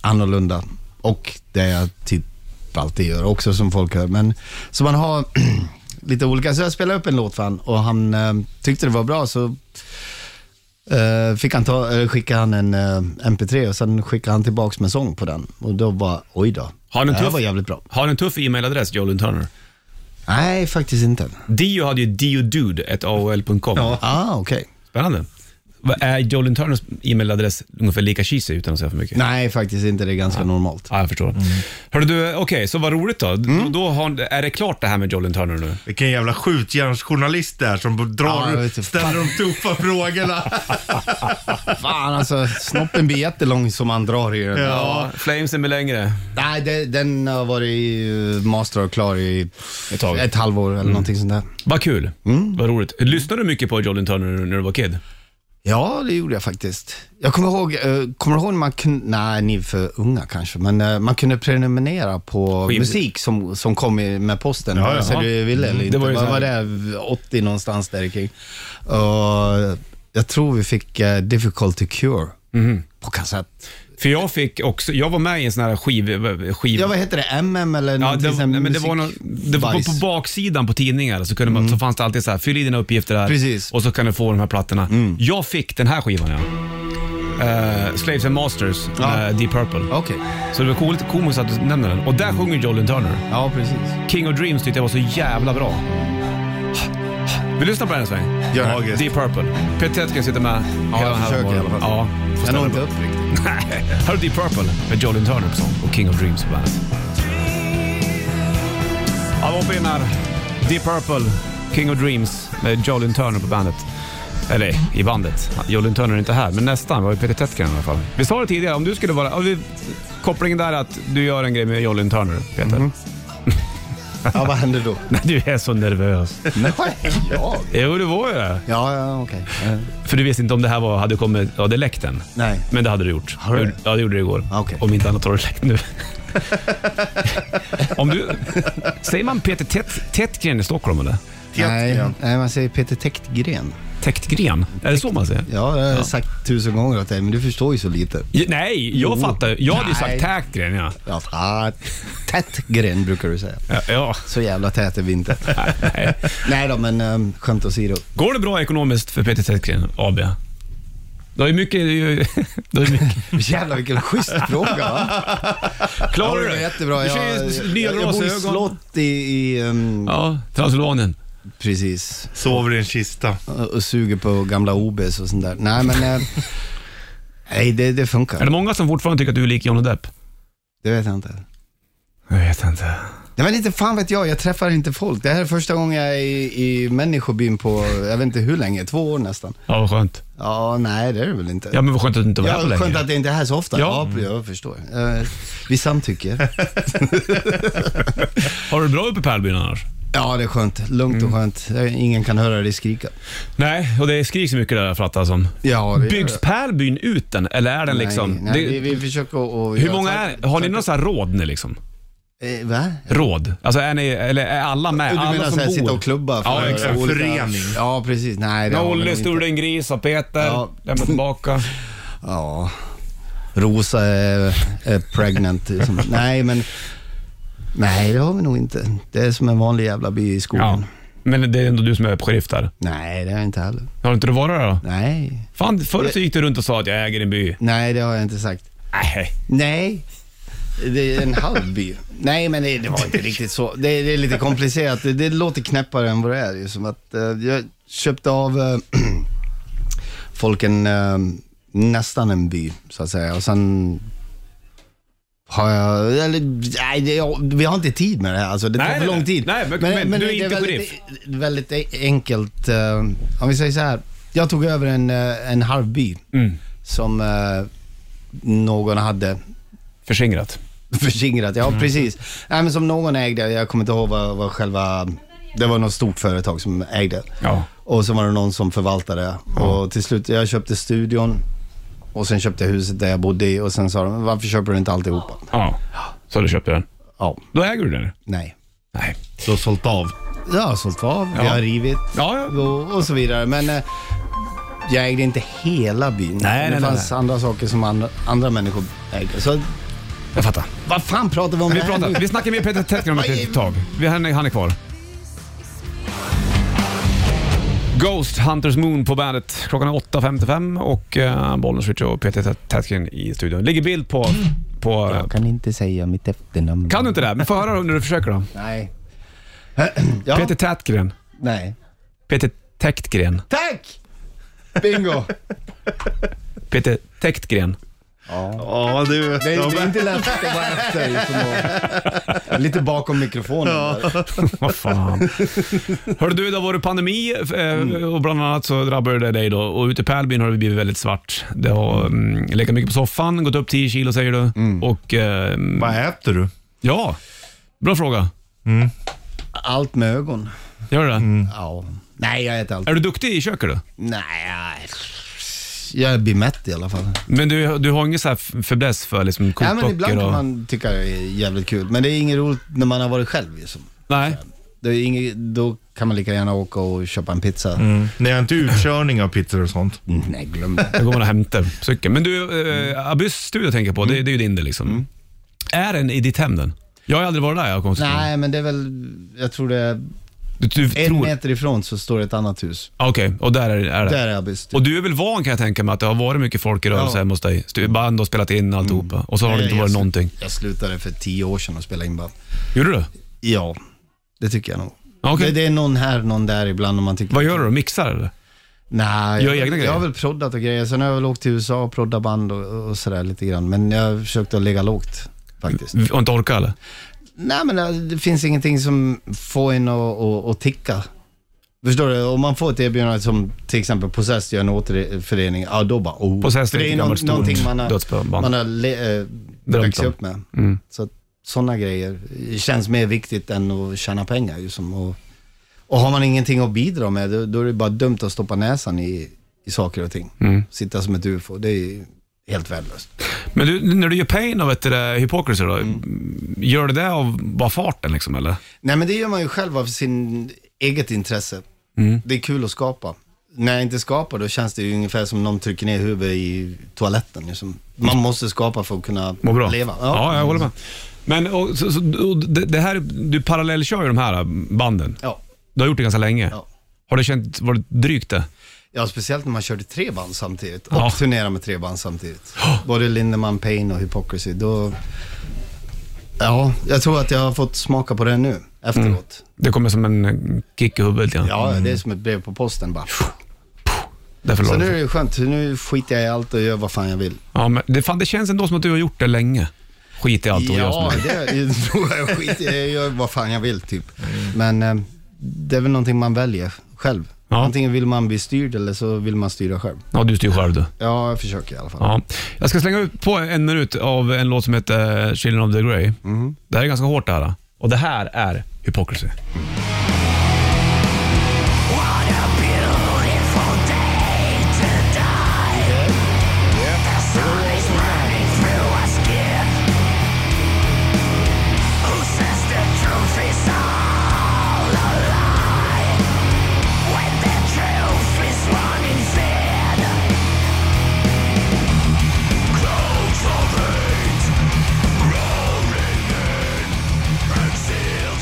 S9: annorlunda och det jag typ alltid gör också som folk hör. Men så man har lite olika, så jag spelade upp en låt för han och han eh, tyckte det var bra så eh, fick han ta, eh, skickade han en eh, mp3 och sen skickade han tillbaks med sång på den och då var oj då.
S2: Har han en
S9: det här
S2: tuff-
S9: var jävligt bra.
S2: Har han en tuff e-mailadress, Jolin Turner?
S9: Nej, faktiskt inte.
S2: Dio hade ju diodude.aol.com.
S9: Ah, okej.
S2: Spännande. Vad Är Jolin Turners e-mailadress ungefär lika cheesy utan att säga för mycket?
S9: Nej, Mm. faktiskt inte. Det är ganska normalt.
S2: Ja, jag förstår. Hörru du, okej, så vad roligt då. Då,
S9: Mm.
S2: då har, är det klart det här med Jolin Turner nu?
S3: Vilken jävla skjutjärnsjournalist det är som
S9: Ja,
S3: drar,
S9: jag vet inte.
S3: ställer de tuffa frågorna.
S9: Fan alltså, snoppen blir jättelång som man drar i den.
S2: Ja, Flamesen blir längre.
S9: Nej, det, den har varit eh, master och klar i
S2: Ett tag.
S9: ett Mm. halvår eller någonting sånt där.
S2: Vad kul. Vad roligt. Lyssnade du mycket på Jolin Turner när du var kid?
S9: Ja, det gjorde jag faktiskt. Jag kommer ihåg, eh, kommer du ihåg när man kunde, nej ni är för unga kanske, men eh, man kunde prenumerera på
S2: Skiv-
S9: musik som, som kom i- med posten,
S3: Ja, ja.
S9: vare sig du ville eller inte.
S2: Mm. var ju
S9: Vad
S2: så
S9: var
S2: här-
S9: det, 80 någonstans där kring. Och jag tror vi fick eh, Difficult to Cure
S2: Mhm.
S9: på kassett.
S2: För jag fick också, jag var med i en sån här skiv... skiv
S9: Ja, vad heter det? MM eller
S2: Ja,
S9: någonting
S2: det,
S9: sånt
S2: nej, men det var någon, det var på,
S9: musikbajs.
S2: på baksidan på tidningar så, kunde man, så fanns det alltid så här, fyll i dina uppgifter där
S9: Precis.
S2: och så kan du få de här plattorna. Jag fick den här skivan ja. Eh, Slaves and Masters med Deep Purple.
S9: Okej,
S2: Så det var coolt, komiskt att du nämner den. Och där sjunger Jolin Turner.
S9: ja precis.
S2: King of Dreams tyckte jag var så jävla bra. Vi lyssnar på den en sväng.
S9: Gör det.
S3: Magiskt.
S2: Deep Purple. Peter Tetkin sitter med.
S9: Ja,
S2: hela
S9: jag
S2: den här
S9: försöker i alla
S2: morgonen.
S9: fall.
S2: Ja, får
S9: Jag
S2: ställa
S9: når
S2: upp.
S9: inte upp riktigt.
S2: Nej. Här har Deep Purple med Jolin Turner på sång och King of Dreams på bandet. Ja, vi hoppar in här. Deep Purple, King of Dreams med Jolin Turner på bandet. Eller i bandet. Jolin Turner är inte här, men nästan. var ju Peter Tetkin i alla fall. Vi sa det tidigare, om du skulle vara... om vi, kopplingen där är att du gör en grej med Jolin Turner, Peter.
S9: Mhm. Ja, vad händer då?
S2: Nej, du är så nervös.
S9: Nej, jag?
S2: Jo, det var ju det.
S9: Ja, ja okej. Eh,
S2: För du visste inte om det här var, hade kommit... Ja, det läckt än.
S9: Nej.
S2: Men det hade du gjort.
S9: Har du det?
S2: Ja, det gjorde du igår.
S9: Ah, okej.
S2: Om inte annat har du läckt nu. Om du, säger man Peter Tätt- Tättgren i Stockholm eller?
S9: Nej,
S3: Tättgren.
S9: nej, man säger Peter Täktgren.
S2: Tättgren? Är det så man säger?
S9: Ja, det har jag sagt tusen gånger åt dig, men du förstår ju så lite.
S2: Ja, Nej, jag
S9: Jo.
S2: fattar ju. Jag hade ju
S9: Nej.
S2: sagt Tättgren ja.
S9: Ja, fan. Tättgren brukar du säga.
S2: ja, ja.
S9: Så jävla tät är vi inte.
S2: Nej.
S9: Nej då, men um, skämt åsido.
S2: Går det bra ekonomiskt för Peter Tättgren AB? Det är ju mycket... Det är ju, det är ju mycket.
S9: Jävlar vilken schysst fråga va?
S2: Klarar du
S9: det?
S2: det?
S9: var Jättebra.
S2: Du
S9: Jag,
S2: kör ju
S9: jag,
S2: nya
S9: jag, jag bor i
S2: glasögon.
S9: slott i, i ehm,
S2: Ja, Transylvanien.
S9: precis.
S3: Sover i en kista.
S9: Och, och suger på gamla OBs och sånt där. Nej men, eh, nej det, det
S2: Är det
S9: funkar.
S2: många som fortfarande tycker att du är lik Johnny Depp?
S9: Det vet jag inte.
S2: Jag vet inte.
S9: Nej men inte fan vet jag, jag träffar inte folk. Det här är första gången jag är i, i människobyn på, jag vet inte hur länge, två år nästan.
S2: Ja, vad skönt.
S9: Ja, nej det är det väl inte.
S2: Ja, men vad skönt att du inte var här på
S9: Ja, skönt
S2: länge.
S9: att det inte är här så ofta.
S2: Ja. Mm.
S9: Ja, jag förstår. Eh, vi samtycker.
S2: Har du det bra uppe i Pärlbyn annars?
S9: Ja, det är skönt. Lugnt och
S2: Mm.
S9: skönt. Ingen kan höra dig skrika.
S2: Nej, och det skriks mycket där fattar jag som.
S9: Ja, det
S2: Byggs Pärlbyn ut den, eller är den liksom...
S9: Nej, nej,
S2: det,
S9: vi, vi försöker att...
S2: hur många är Har ni några så här råd ni liksom?
S9: Eh, va?
S2: Råd? Alltså är ni, eller är alla med?
S9: Du
S2: alla
S9: menar
S2: som
S9: såhär,
S2: bor?
S9: sitta och klubba för
S2: Ja, exakt.
S9: olika-
S3: Förening.
S9: Ja, precis. Nej, det har vi nog
S2: Nolle
S9: inte.
S2: stod en gris av Peter,
S9: Ja. Mm.
S2: lämna tillbaka.
S9: Ja. Rosa är, är pregnant. liksom. Nej, men... Nej, det har vi nog inte. Det är som en vanlig jävla by i skogen.
S2: Ja. Men det är ändå du som är sheriff där.
S9: Nej, det har jag inte heller.
S2: Har inte du varit där då?
S9: Nej.
S2: Fan, förr så gick du runt och sa att jag äger en by.
S9: Nej, det har jag inte sagt.
S2: Nej.
S9: Nej. Det är en halv by. Nej, men det, det var inte riktigt så. Det, det är lite komplicerat. Det, det låter knäppare än vad det är. Det är som att, eh, jag köpte av eh, folk en, eh, nästan en by, så att säga. Och sen har jag... Eller, nej, det, jag, vi har inte tid med det här. Alltså, det
S2: Nej,
S9: tar för
S2: nej,
S9: lång tid.
S2: nej, men- men du är
S9: det
S2: inte
S9: väldigt, väldigt e- enkelt. eh, om vi säger så här. Jag tog över en, eh, en halv by
S2: Mm.
S9: som eh, någon hade
S2: Förskingrat.
S9: förskingrat.
S2: Mm.
S9: Ja, precis. Nej, men som någon ägde, jag kommer inte ihåg vad, vad själva... Det var något stort företag som ägde.
S2: Ja.
S9: Och så var det någon som förvaltade. det. Och till slut, jag köpte studion och sen köpte jag huset där jag bodde i och sen sa de, varför köper du inte alltihopa?
S2: Ja. Så du köpte den.
S9: Ja,
S2: Då äger du den?
S9: nej.
S2: Nej.
S3: Du har sålt av.
S9: Jag har sålt av,
S2: Ja.
S9: jag har rivit
S2: Ja, ja.
S9: och, och så vidare. Men eh, jag ägde inte hela byn.
S2: nej,
S9: det
S2: nej,
S9: fanns andra saker som andra, andra människor ägde. Så
S2: Jag fattar.
S9: vad fan pratar vi om
S2: Vi,
S9: det här nu?
S2: pratar, vi snackar med Peter Tättgren om ett litet tag. Vi, han, är- han är kvar. Ghost Hunters Moon på bandet. Klockan är 8.55 och uh, Bollnäs Ritchie och Peter Tätt- Tättgren i studion. Ligger bild på... på
S9: Jag kan inte säga mitt efternamn.
S2: kan du inte det? Men få höra när du försöker då.
S9: Nej. ja,
S2: Peter Tätgren.
S9: Nej.
S2: Peter Täktgren.
S9: Tack! Bingo!
S2: Peter Täktgren.
S3: Ja, du.
S9: Det är,
S3: de-
S9: det är inte lätt att vara efter. Liksom och, lite bakom mikrofonen. där.
S2: Vad fan. Hörru du, det har varit pandemi
S9: Mm.
S2: eh, och bland annat så drabbade det dig då. Och ute i Pärlbyn har det blivit väldigt svart. Det har mm, legat mycket på soffan, gått upp 10 kilo säger du.
S9: Mm.
S2: Och eh,
S3: Vad äter du?
S2: ja, bra fråga.
S9: Allt med ögon.
S2: Gör du det?
S9: Ja. Nej, jag äter allt.
S2: Är du duktig i köket du?
S9: Nej, jag blir mätt i alla fall.
S2: Men du, du har ingen så här f- fäbless för liksom
S9: Ja, men ibland
S2: kokböcker
S9: kan
S2: och...
S9: man tycka det är jävligt kul. Men det är inget roligt när man har varit själv. Liksom.
S2: Nej.
S9: Det är inget, då kan man lika gärna åka och köpa en pizza.
S3: Ni har inte utkörning av pizzor och sånt?
S9: Nej, glöm det.
S2: Då går man och hämtar cykeln. Men du, eh, Abyss studio tänker jag på,
S9: Mm.
S2: det, det är ju din det liksom. Är den i ditt hem den? Jag har aldrig varit där jag har konstigt.
S9: Nej, men det är väl, jag tror det är
S2: Du, du
S9: en
S2: tror...
S9: meter ifrån så står det ett annat hus.
S2: Ah, Okej, och där är, är det?
S9: Där är Abyss.
S2: Och du är väl van kan jag tänka mig att det har varit mycket folk i rörelse
S9: Typ. Ja. Mm.
S2: hemma hos dig. Stu- Band och spelat in alltihopa och så har det inte
S9: Jag
S2: varit
S9: slu-
S2: någonting.
S9: Jag slutade för tio år sedan att spela in band.
S2: Gjorde du?
S9: Ja, det tycker jag nog.
S2: Ja, Okej.
S9: Det, det är någon här, någon där ibland om man tycker...
S2: Vad gör du då? Mixar eller?
S9: Nej,
S2: Gör
S9: jag,
S2: egna grejer?
S9: jag har väl proddat och grejer. Sen har jag väl åkt till USA och proddat band och, och sådär lite grann. Men jag har försökt att lägga lågt faktiskt.
S2: Och inte orkar eller?
S9: Nej, men eh, det finns ingenting som får en att, att, att ticka. Förstår du? Om man får ett erbjudande som till exempel Possessed gör en återförening, ja då bara oh.
S2: Possessed
S9: För
S2: är
S9: det
S2: ett
S9: är någon,
S2: gammalt stort
S9: någonting man har,
S2: dödsband.
S9: man har le, eh, växt
S2: om. Mm.
S9: upp med. Så att sådana grejer känns mer viktigt än att tjäna pengar. Liksom. Och, och har man ingenting att bidra med,
S2: Mm.
S9: då, då är det bara dumt att stoppa näsan i, i saker och ting. Sitta som ett ufo, det är helt värdelöst.
S2: Men du, när du gör pain av ett äh, hypocrisy då,
S9: Mm.
S2: gör du det av bara farten liksom eller?
S9: Nej, men det gör man ju själv av sin eget intresse.
S2: Mm.
S9: Det är kul att skapa. När jag inte skapar då känns det ju ungefär som någon trycker ner huvudet i toaletten. Liksom. Man måste skapa för att kunna
S2: Mm. Må bra.
S9: leva.
S2: Ja. jag håller med. Men och, så, så, och det, det här, du parallellkör ju de här eh, banden.
S9: Ja.
S2: Du har gjort det ganska länge.
S9: Ja.
S2: Har du känt, var det drygt det?
S9: Ja, speciellt när man körde tre band samtidigt och
S2: Ja.
S9: turnerade med tre band samtidigt. Både Lindemann Payne och Hypocrisy. Då... Ja, jag tror att jag har fått smaka på det nu efteråt.
S2: Det kommer som en eh, kick i huvudet igen.
S9: Ja, det är som ett brev på posten bara.
S2: Därför
S9: Så
S2: låter
S9: nu
S2: det.
S9: är det skönt, nu skiter jag i allt och gör vad fan jag vill.
S2: Ja, men det, fan, det känns ändå som att du har gjort det länge. Skit i allt och gör som
S9: ja,
S2: du vill.
S9: det är- tror jag skiter jag i. Jag gör vad fan jag vill typ. Men eh, det är väl någonting man väljer själv.
S2: Ja.
S9: Antingen vill man bli styrd eller så vill man styra själv.
S2: Ja, du styr själv du.
S9: Ja, jag försöker i alla fall.
S2: Ja. Jag ska slänga ut på en minut av en låt som heter eh, Children of the Grey.
S9: Mhm.
S2: Det här är ganska hårt det här. Och det här är Hypocrisy.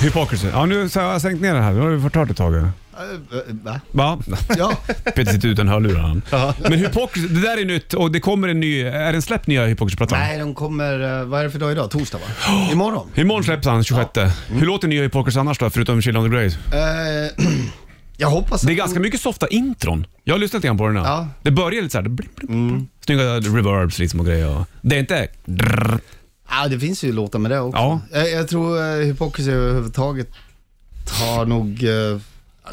S2: Hypocrisy. Ja, nu så har jag sänkt ner den här. Nu har du förtört ett tag.
S9: Eh, eh, Va?
S2: Va?
S9: Ja.
S2: Peter sitter utan hörlurar han. Men Hypocrisy, det där är nytt och det kommer en ny. Är den släppt nya Hypocrisy-plattan?
S9: Nej, de kommer, eh, vad är det för dag idag? Torsdag va? Imorgon?
S2: Imorgon släpps han, 26.
S9: Mm.
S2: Hur låter nya Hypocrisy annars då, förutom Children of the Grey?
S9: Eh, jag hoppas
S2: Det är ganska mycket softa intron. Jag har lyssnat igen på den här.
S9: Mm. Ja. Mm.
S2: Det börjar lite såhär... Blim, blim, blim. Snygga reverbs liksom och grejer. och- Det är inte... drrrr.
S9: Ja, det finns ju låtar med det också.
S2: Ja.
S9: Jag, jag tror uh, Hypocrisy överhuvudtaget har nog, eh,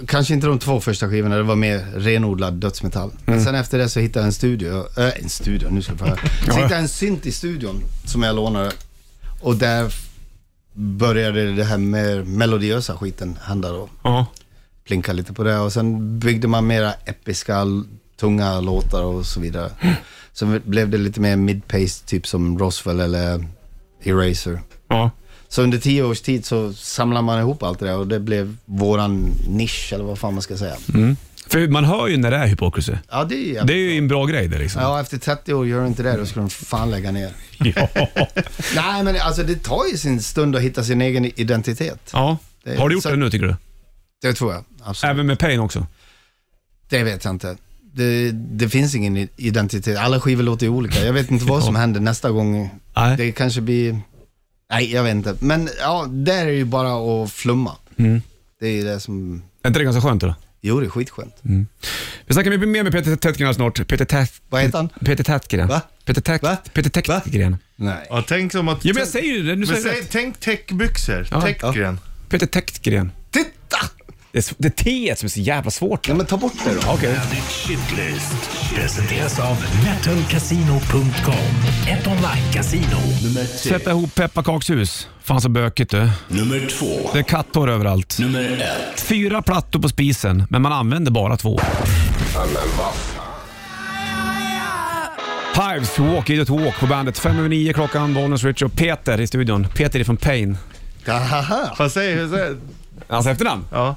S9: kanske inte de två första skivorna, det var mer renodlad dödsmetall. Men sen efter det så hittade jag en studio, eh, en studio, nu ska jag få höra. Så hittade jag en synt i studion som jag lånade och där började det här med melodiösa skiten hända då.
S2: Ja.
S9: plinka lite på det och sen byggde man mera episka, l- tunga låtar och så vidare. Så blev det lite mer mid-pace, typ som Roswell eller Eraser.
S2: Ja.
S9: Så under tio års tid så samlade man ihop allt det där och det blev våran nisch, eller vad fan man ska säga.
S2: För man hör ju när det är Hypocrisy.
S9: Ja, det är ju
S2: Mm. Det är ju en bra grej det liksom.
S9: Ja, efter 30 år gör du inte det, då skulle de fan lägga ner.
S2: Ja.
S9: Nej, men alltså det tar ju sin stund att hitta sin egen identitet.
S2: ja.
S9: Det-
S2: Har du gjort
S9: så-
S2: det nu tycker du?
S9: Det tror jag, absolut.
S2: Även med Pain också?
S9: Det vet jag inte. Det, det finns ingen i- identitet. Alla skivor låter ju olika. Jag vet inte vad som händer nästa gång.
S2: Nej.
S9: Det kanske blir... Nej, jag vet inte. Men ja, där är det ju bara att flumma. Det är ju det som...
S2: Är inte det ganska skönt eller?
S9: Jo, det är skitskönt.
S2: Vi snackar mycket mer med Peter Tätgren här snart. Peter Tät...
S9: Vad heter han?
S2: Peter Tätgren.
S9: Va?
S2: Peter Tät...
S9: Va?
S2: Peter Tätgren.
S9: Nej.
S3: Ja, tänk som att...
S2: Ja men jag säger ju det. Nu
S3: Men
S2: säger jag
S3: säg,
S2: rätt.
S3: tänk täckbyxor,
S2: Ja.
S3: täckgren.
S2: Peter Tätgren.
S9: Titta!
S2: Det är, s- det är T som är så jävla svårt.
S9: Ja, men ta bort det då.
S2: Okej.
S4: Bandit Shitlist presenteras av metalcasino.com. Ett online-casino. Nummer tre.
S2: Sätta ihop pepparkakshus. Fan så bökigt du.
S4: Nummer två.
S2: Det är katthår överallt.
S4: Nummer ett.
S2: Fyra plattor på spisen, men man använder bara två. Hives, Walk Idiot Walk på bandet. Fem över nio klockan, Bollnäs Rich och Peter i studion. Peter är från Pain.
S9: Ahaha.
S3: Vad säger hur säger
S2: Hans efternamn?
S3: Ja.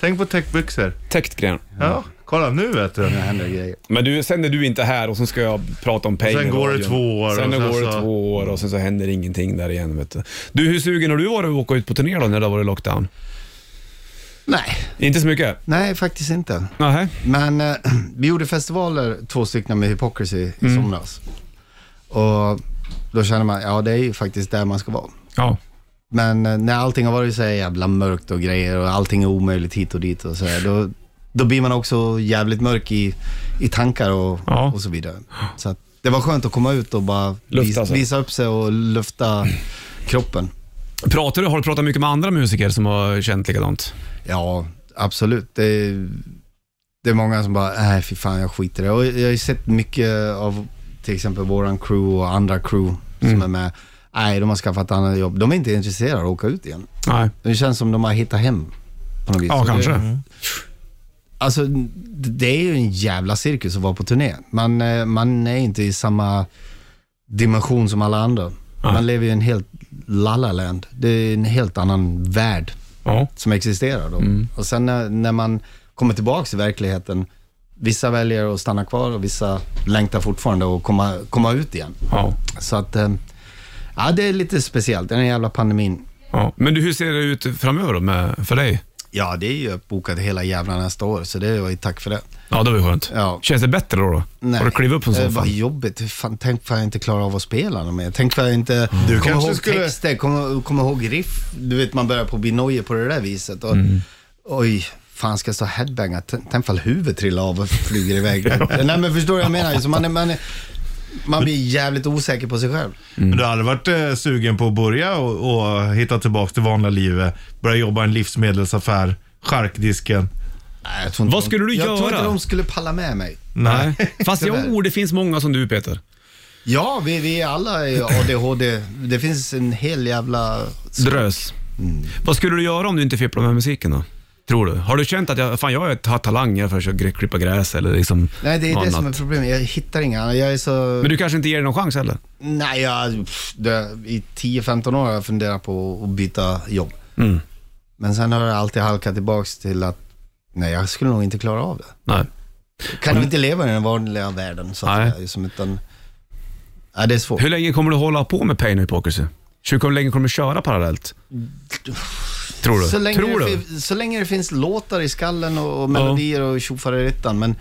S3: Tänk på täckbyxor.
S2: Täktgren.
S3: Ja, kolla nu vet du.
S9: Det händer grejer.
S2: Men du, sen är du inte här och sen ska jag prata om Pain
S3: Sen
S2: i
S3: går det
S2: radion.
S3: två år
S2: Sen,
S3: och sen
S2: går det
S3: så-
S2: två år och sen så händer ingenting där igen. Vet du. du, hur sugen har du varit att åka ut på turné då när det har varit lockdown?
S9: Nej,
S2: Inte så mycket?
S9: nej faktiskt inte.
S2: Nej.
S9: Men eh, vi gjorde festivaler, två stycken med Hypocrisy i somras. Och då känner man, ja det är ju faktiskt där man ska vara.
S2: Ja.
S9: Men eh, när allting har varit så här jävla mörkt och grejer och allting är omöjligt hit och dit och så här, då, då blir man också jävligt mörk i, i tankar och,
S2: Ja.
S9: och så vidare. Så att det var skönt att komma ut och bara
S2: Lufta
S9: vis,
S2: sig.
S9: visa upp sig och lufta kroppen.
S2: Pratar du, har du pratat mycket med andra musiker som har känt likadant?
S9: Ja, absolut. Det är, det är många som bara, nej fy fan jag skiter i det. Och jag har ju sett mycket av till exempel våran crew och andra crew
S2: Mm.
S9: som är med. Nej, de har skaffat andra jobb. De är inte intresserade av att åka ut igen.
S2: Nej. Mm.
S9: Det känns som de har hittat hem på något vis.
S2: Ja,
S9: Så det-
S2: kanske.
S9: Ja, alltså, det är ju en jävla cirkus att vara på turné. Man, eh, man är inte i samma dimension som alla andra. Man lever i en helt lallaland. Det är en helt annan värld
S2: Ja.
S9: som existerar då. Och sen när, när man kommer tillbaka till verkligheten, vissa väljer att stanna kvar och vissa längtar fortfarande att komma, komma ut igen.
S2: Ja.
S9: Så att, eh, ja det är lite speciellt, den här jävla pandemin.
S2: ja. Men du, hur ser det ut framöver då med, för dig?
S9: Ja, det är ju uppbokat hela jävla nästa år, så det var ju tack för det.
S2: Ja, det var ju skönt.
S9: Ja.
S2: Känns det bättre då? då? Har du klivit upp en
S9: Eh,
S2: sån
S9: Vad
S2: fan?
S9: jobbigt. Hur Fan, tänk vad jag inte klarar av att spela något mer. Tänk vad jag inte kommer
S3: kanske
S9: ihåg
S3: skulle-
S9: texter, kommer, kommer ihåg riff. Du vet, man börjar på att bli nojig på det där viset. Och,
S2: Mm.
S9: Oj, fan ska jag stå och headbanga? T- Tänk ifall huvudet trillar av och flyger iväg. Nej men förstår du vad jag menar? Så man, är, man, är, man blir jävligt osäker på sig själv.
S2: Mm.
S3: Men du har aldrig varit eh, sugen på att börja och, och hitta tillbaka till vanliga livet? Börja jobba i en livsmedelsaffär, charkdisken.
S9: Nej, jag tror inte
S2: Vad
S9: de-
S2: skulle du
S9: Jag tror
S2: göra?
S9: inte de skulle palla med mig.
S2: Nej. Fast
S9: Tyvärr.
S2: jo, det finns många som du Peter.
S9: Ja, vi, vi är alla är ADHD. Det finns en hel jävla...
S2: Drös.
S9: Mm.
S2: Vad skulle du göra om du inte fipplar med musiken då? Tror du? Har du känt att jag, fan, jag har talanger för att köra- klippa gräs eller liksom
S9: Nej, det är
S2: något
S9: det som är
S2: annat?
S9: problemet. Jag hittar inga. Jag är så...
S2: Men du kanske inte ger det någon chans heller?
S9: Nej, jag, pff, det, i 10-15 år har jag funderat på att byta jobb.
S2: Mm.
S9: Men sen har jag alltid halkat tillbaka till att nej, jag skulle nog inte klara av det.
S2: Nej.
S9: Kan inte leva i den vanliga världen så
S2: Nej.
S9: att säga, som utan, nej, det är svårt.
S2: Hur länge kommer du hålla på med Pain och Hypocrisy? Hur kom- länge kommer du köra parallellt? Tror du?
S9: Så länge,
S2: Tror
S9: det,
S2: du?
S9: fin- så länge det finns låtar i skallen och, och melodier och tjofaderittan, men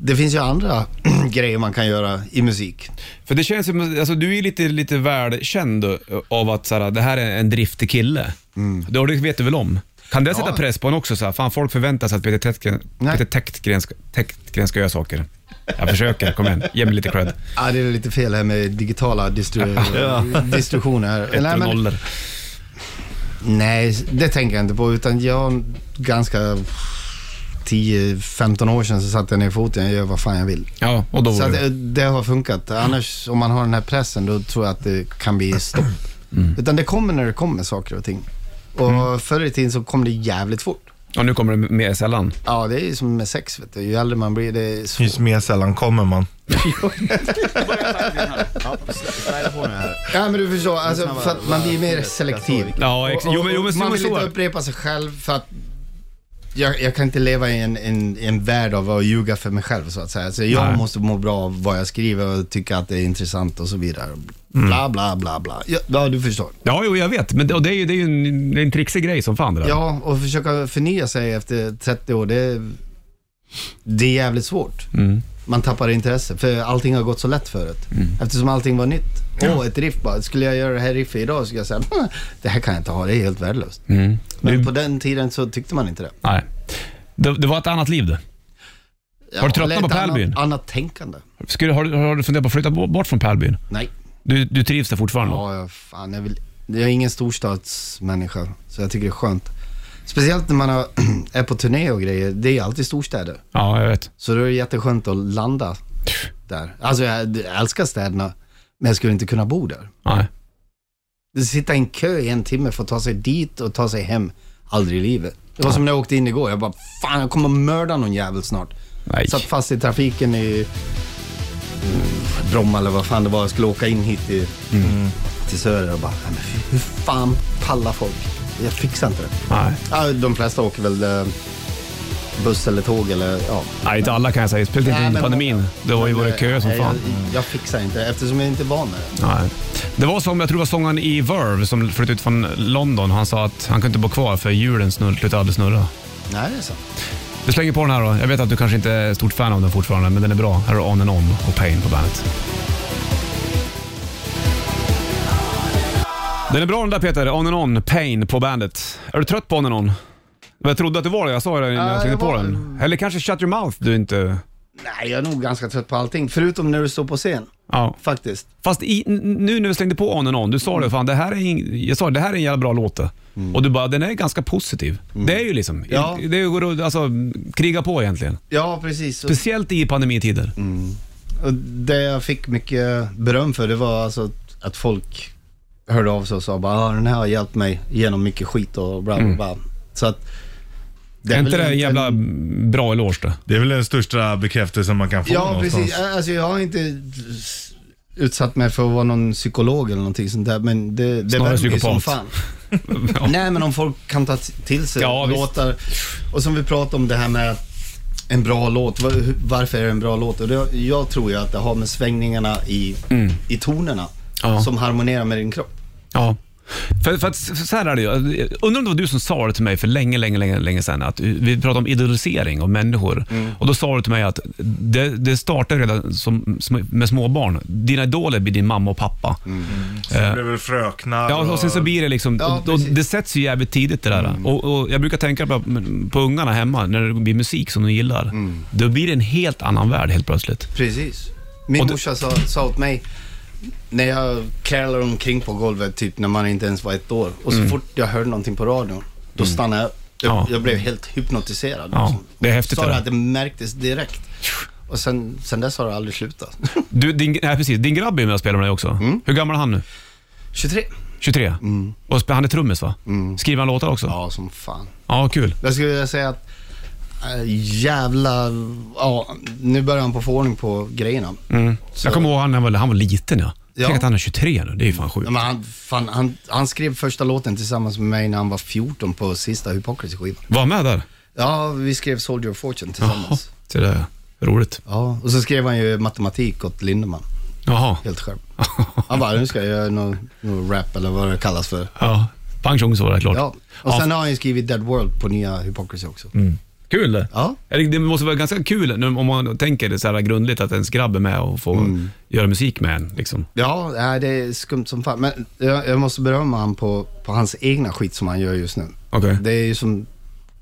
S9: det finns ju andra grejer man kan göra i musik.
S2: För det känns som, alltså du är lite, lite välkänd av att så här, det här är en driftig kille.
S9: Mm.
S2: Det har du- vet du väl om? Kan det sätta press på en också? Så här, fan, folk förväntar sig att Peter Täckgren-
S9: Nej.
S2: Peter Täckgren ska- Täckgren ska göra saker. Jag försöker, kom igen. Ge mig lite cred.
S9: Ja, det är lite fel här med digitala distru- distributioner. här.
S2: Ettor
S9: Nej,
S2: och
S9: men-
S2: nollor.
S9: Nej, det tänker jag inte på. Utan jag, ganska 10-15 år sedan så satte jag ner foten. Jag gör vad fan jag vill.
S2: Oh, Ja, och då
S9: Så
S2: var
S9: att, eh,
S2: det.
S9: det har funkat. Annars, om man har den här pressen, då tror jag att det kan bli stopp. Utan det kommer när det kommer saker och ting. Och förr i tiden så kom det jävligt fort.
S2: Och nu kommer det mer sällan.
S9: Ja, det är ju som med sex, vet du. Ju äldre man blir, det är svårt.
S3: Finns mer sällan kommer man.
S9: Ja, men du förstår. Alltså, för att man blir mer selektiv.
S2: Ja, ex- jo, men, jo, men, jo,
S9: man
S2: men
S9: vill
S2: så
S9: inte
S2: är det.
S9: upprepa sig själv för att jag, jag kan inte leva i en, en, en värld av att ljuga för mig själv så att säga. Så jag
S2: Nej.
S9: måste må bra av vad jag skriver och tycka att det är intressant och så vidare.
S2: Mm.
S9: Bla, bla, bla, bla. Ja, ja du förstår.
S2: Ja, jo, jag vet. Men det, och det är ju det är ju en, det är en trixig grej som fan det där.
S9: Ja, och försöka förnya sig efter 30 år, det, det är jävligt svårt.
S2: Mm.
S9: Man tappar intresse, för allting har gått så lätt förut. Eftersom allting var nytt. Åh, ett riff bara. Skulle jag göra det här riffet idag så skulle jag säga, "Mm, det här kan jag inte ha, det är helt värdelöst.
S2: Mm.
S9: Men på den tiden så tyckte man inte det.
S2: Nej. Det, det var ett annat liv det.
S9: Ja,
S2: Har du tröttnat
S9: eller
S2: på
S9: ett
S2: Pärlbyn?
S9: Annat, annat tänkande.
S2: Skulle, har, du- har du funderat på att flytta bo- bort från Pärlbyn?
S9: Nej.
S2: Du, du trivs där fortfarande?
S9: Ja, jag, fan, jag, vill, jag är ingen storstadsmänniska, så jag tycker det är skönt. Speciellt när man har, är på turné och grejer, det är ju alltid storstäder.
S2: Ja, jag vet.
S9: Så då är det jätteskönt att landa där. Alltså jag älskar städerna, men jag skulle inte kunna bo där.
S2: Nej.
S9: Sitta i en kö i en timme för att ta sig dit och ta sig hem. Aldrig i livet. Det var som när jag åkte in igår. Jag bara, fan jag kommer mörda någon jävel snart.
S2: Nej.
S9: Satt fast i trafiken i mm, Bromma eller vad fan det var. Jag skulle åka in hit till, till Söder och bara, "Nej, men fy- hur fan pallar folk? Jag fixar inte det.
S2: Nej.
S9: Ja, de flesta åker väl eh, buss eller tåg eller ja.
S2: Nej, inte alla kan jag säga. Speciellt inte
S9: Nej,
S2: under
S9: men-
S2: pandemin. Det var ju
S9: Men,
S2: varit köer som
S9: nej,
S2: fan.
S9: Jag, jag fixar inte eftersom jag inte är van med det.
S2: Nej. Det var som, jag tror det var sångaren i Verve som flyttade ut från London. Han sa att han kunde inte bo kvar för hjulen snurr, slutade aldrig snurra.
S9: Nej, det är sant.
S2: Vi slänger på den här då. Jag vet att du kanske inte är stort fan av den fortfarande, men den är bra. Här är On and On och Pain på bandet. Den är bra den där Peter. On and On, Pain på bandet. Är du trött på On and On? Jag trodde att du var det. Jag sa det innan
S9: Ja,
S2: jag slängde
S9: jag
S2: på
S9: var
S2: den. Eller kanske Shut Your Mouth du inte...
S9: Nej, jag är nog ganska trött på allting. Förutom när du står på scen,
S2: Ja.
S9: faktiskt.
S2: Fast i, n- nu när vi slängde på On and On, du sa det, fan, det här är ing, jag sa det, det här är en jävla bra låt. det. Och du bara, den är ganska positiv. Det är ju liksom,
S9: Mm. Ja.
S2: det är ju att alltså, kriga på egentligen.
S9: Ja, precis. Och,
S2: Speciellt i pandemitider.
S9: och det jag fick mycket beröm för, det var alltså att- att folk hörde av sig och sa bara, ah, den här har hjälpt mig genom mycket skit och bla bla bla. Så att är
S2: Mm. Är inte
S9: väl
S2: det en jävla bra eloge det?
S3: Det är väl den största bekräftelsen man kan få
S9: Ja,
S3: någonstans. Eh,
S9: precis. Alltså, jag har inte s- utsatt mig för att vara någon psykolog eller någonting sånt där, men det, det
S2: Snarare
S9: värmer ju som
S2: psykopat.
S9: fan.
S2: Ja.
S9: Nej, men om folk kan ta till sig
S2: Ja, visst.
S9: låtar. Och som vi pratade om det här med att en bra låt, var- hur- varför är det en bra låt? Och det, jag tror ju att det har med svängningarna i, i tonerna
S2: Mm. Ja.
S9: som harmonerar med din kropp.
S2: Ja. För, för att, för så här är det ju. Undrar om det var du som sa det till mig för länge, länge, länge, länge sedan. Att vi pratade om idolisering av människor. Och Då sa du till mig att det, det startar redan som, som- med småbarn. Dina idoler blir din mamma och pappa. Eh,
S3: Det blev väl fröknar
S2: Ja, och sen så blir det liksom,
S9: Ja,
S2: och, och
S9: precis.
S2: det sätts ju jävligt tidigt det där. Och, och jag brukar tänka på, på ungarna hemma, när det blir musik som de gillar. Då blir det en helt annan värld helt plötsligt.
S9: Precis. Min
S2: Och det-
S9: morsa sa, sa åt mig, när jag krälade omkring på golvet, typ när man inte ens var ett år, och så fort jag hörde någonting på radion, då stannade jag. Jag,
S2: Mm. Ja.
S9: jag blev helt hypnotiserad.
S2: Ja,
S9: liksom.
S2: det är häftigt
S9: Sa
S2: det
S9: det
S2: där.
S9: att det märktes direkt. Och sen, sen dess har det aldrig slutat.
S2: Du, din, nej, precis, din grabb är med och spelar med dig också. Hur gammal är han nu?
S9: 23.
S2: 23? Och sp- han är trummis va? Skriver han låtar också?
S9: Mm. Ja, som fan.
S2: Ja, kul.
S9: Jag skulle vilja säga att äh, jävla... Ja, nu börjar han på få ordning på grejerna.
S2: Mm.
S9: Så-
S2: Jag kommer ihåg han, när han, var, han var liten ja.
S9: Ja.
S2: Tänk att han är 23 nu, det är ju fan sjukt.
S9: Ja, Men han, fan, han, han skrev första låten tillsammans med mig när han var 14 på sista Hypocrisy-skivan.
S2: Var han med där?
S9: Ja, vi skrev Soldier of Fortune
S2: Jaha,
S9: tillsammans.
S2: se där ja. Roligt.
S9: Ja, och så skrev han ju matematik åt Lindemann,
S2: Jaha.
S9: helt själv. Han bara, nu ska jag göra någon, någon rap eller vad det kallas för.
S2: Ja, pang tjong så var det klart.
S9: Ja, och sen har han ju skrivit Dead World på nya Hypocrisy också.
S2: Kul det.
S9: Ja.
S2: Eller Det måste vara ganska kul nu, om man tänker det så här grundligt att ens grabb är med och får
S9: Mm.
S2: göra musik med en. Liksom.
S9: Ja, nej, det är skumt som fan. Men jag, jag måste berömma han på, på hans egna skit som han gör just nu.
S2: Okej.
S9: Det är ju som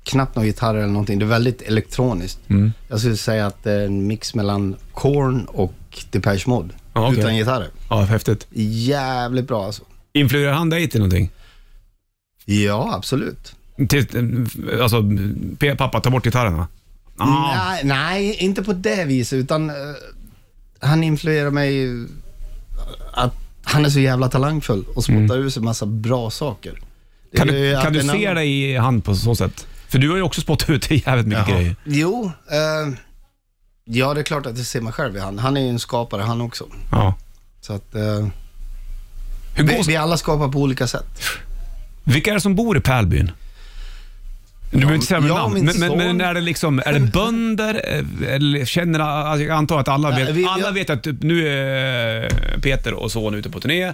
S9: knappt någon gitarr eller någonting. Det är väldigt elektroniskt.
S2: Mm.
S9: Jag skulle säga att det är en mix mellan Korn och Depeche Mode.
S2: Ja, okej.
S9: Utan gitarrer.
S2: Ja, häftigt.
S9: Jävligt bra alltså.
S2: Influerar han dig till någonting?
S9: Ja, absolut.
S2: Till, alltså, P- pappa, ta bort gitarren va?
S9: Mm,
S2: Ah,
S9: Nej, nej, inte på det viset. Utan eh, han influerar mig eh, att han är så jävla talangfull och spottar ur sig massa bra saker. Det
S2: Mm. kan
S9: gör ju
S2: du,
S9: att
S2: kan du
S9: en
S2: se
S9: annan-
S2: dig i hand på så sätt? För du har ju också spottat ut jävligt mycket
S3: Jaha.
S2: grejer.
S9: Jo, eh, ja det är klart att jag ser mig själv i han. Han är ju en skapare han också.
S2: Ja.
S9: Så att, eh,
S2: Hur
S9: vi,
S2: går,
S9: vi alla skapar på olika sätt.
S2: vilka är det som bor i Pärlbyn? Du behöver inte säga
S9: jag
S2: med
S9: och
S2: namn,
S9: min
S2: men, men, men
S9: son.
S2: är det liksom, är det bönder? eh, Eller känner, alltså, jag antar att alla
S9: Nej,
S2: vet,
S9: vi-
S2: alla
S9: jag-
S2: vet att typ, nu är eh, Peter och son ute på turné,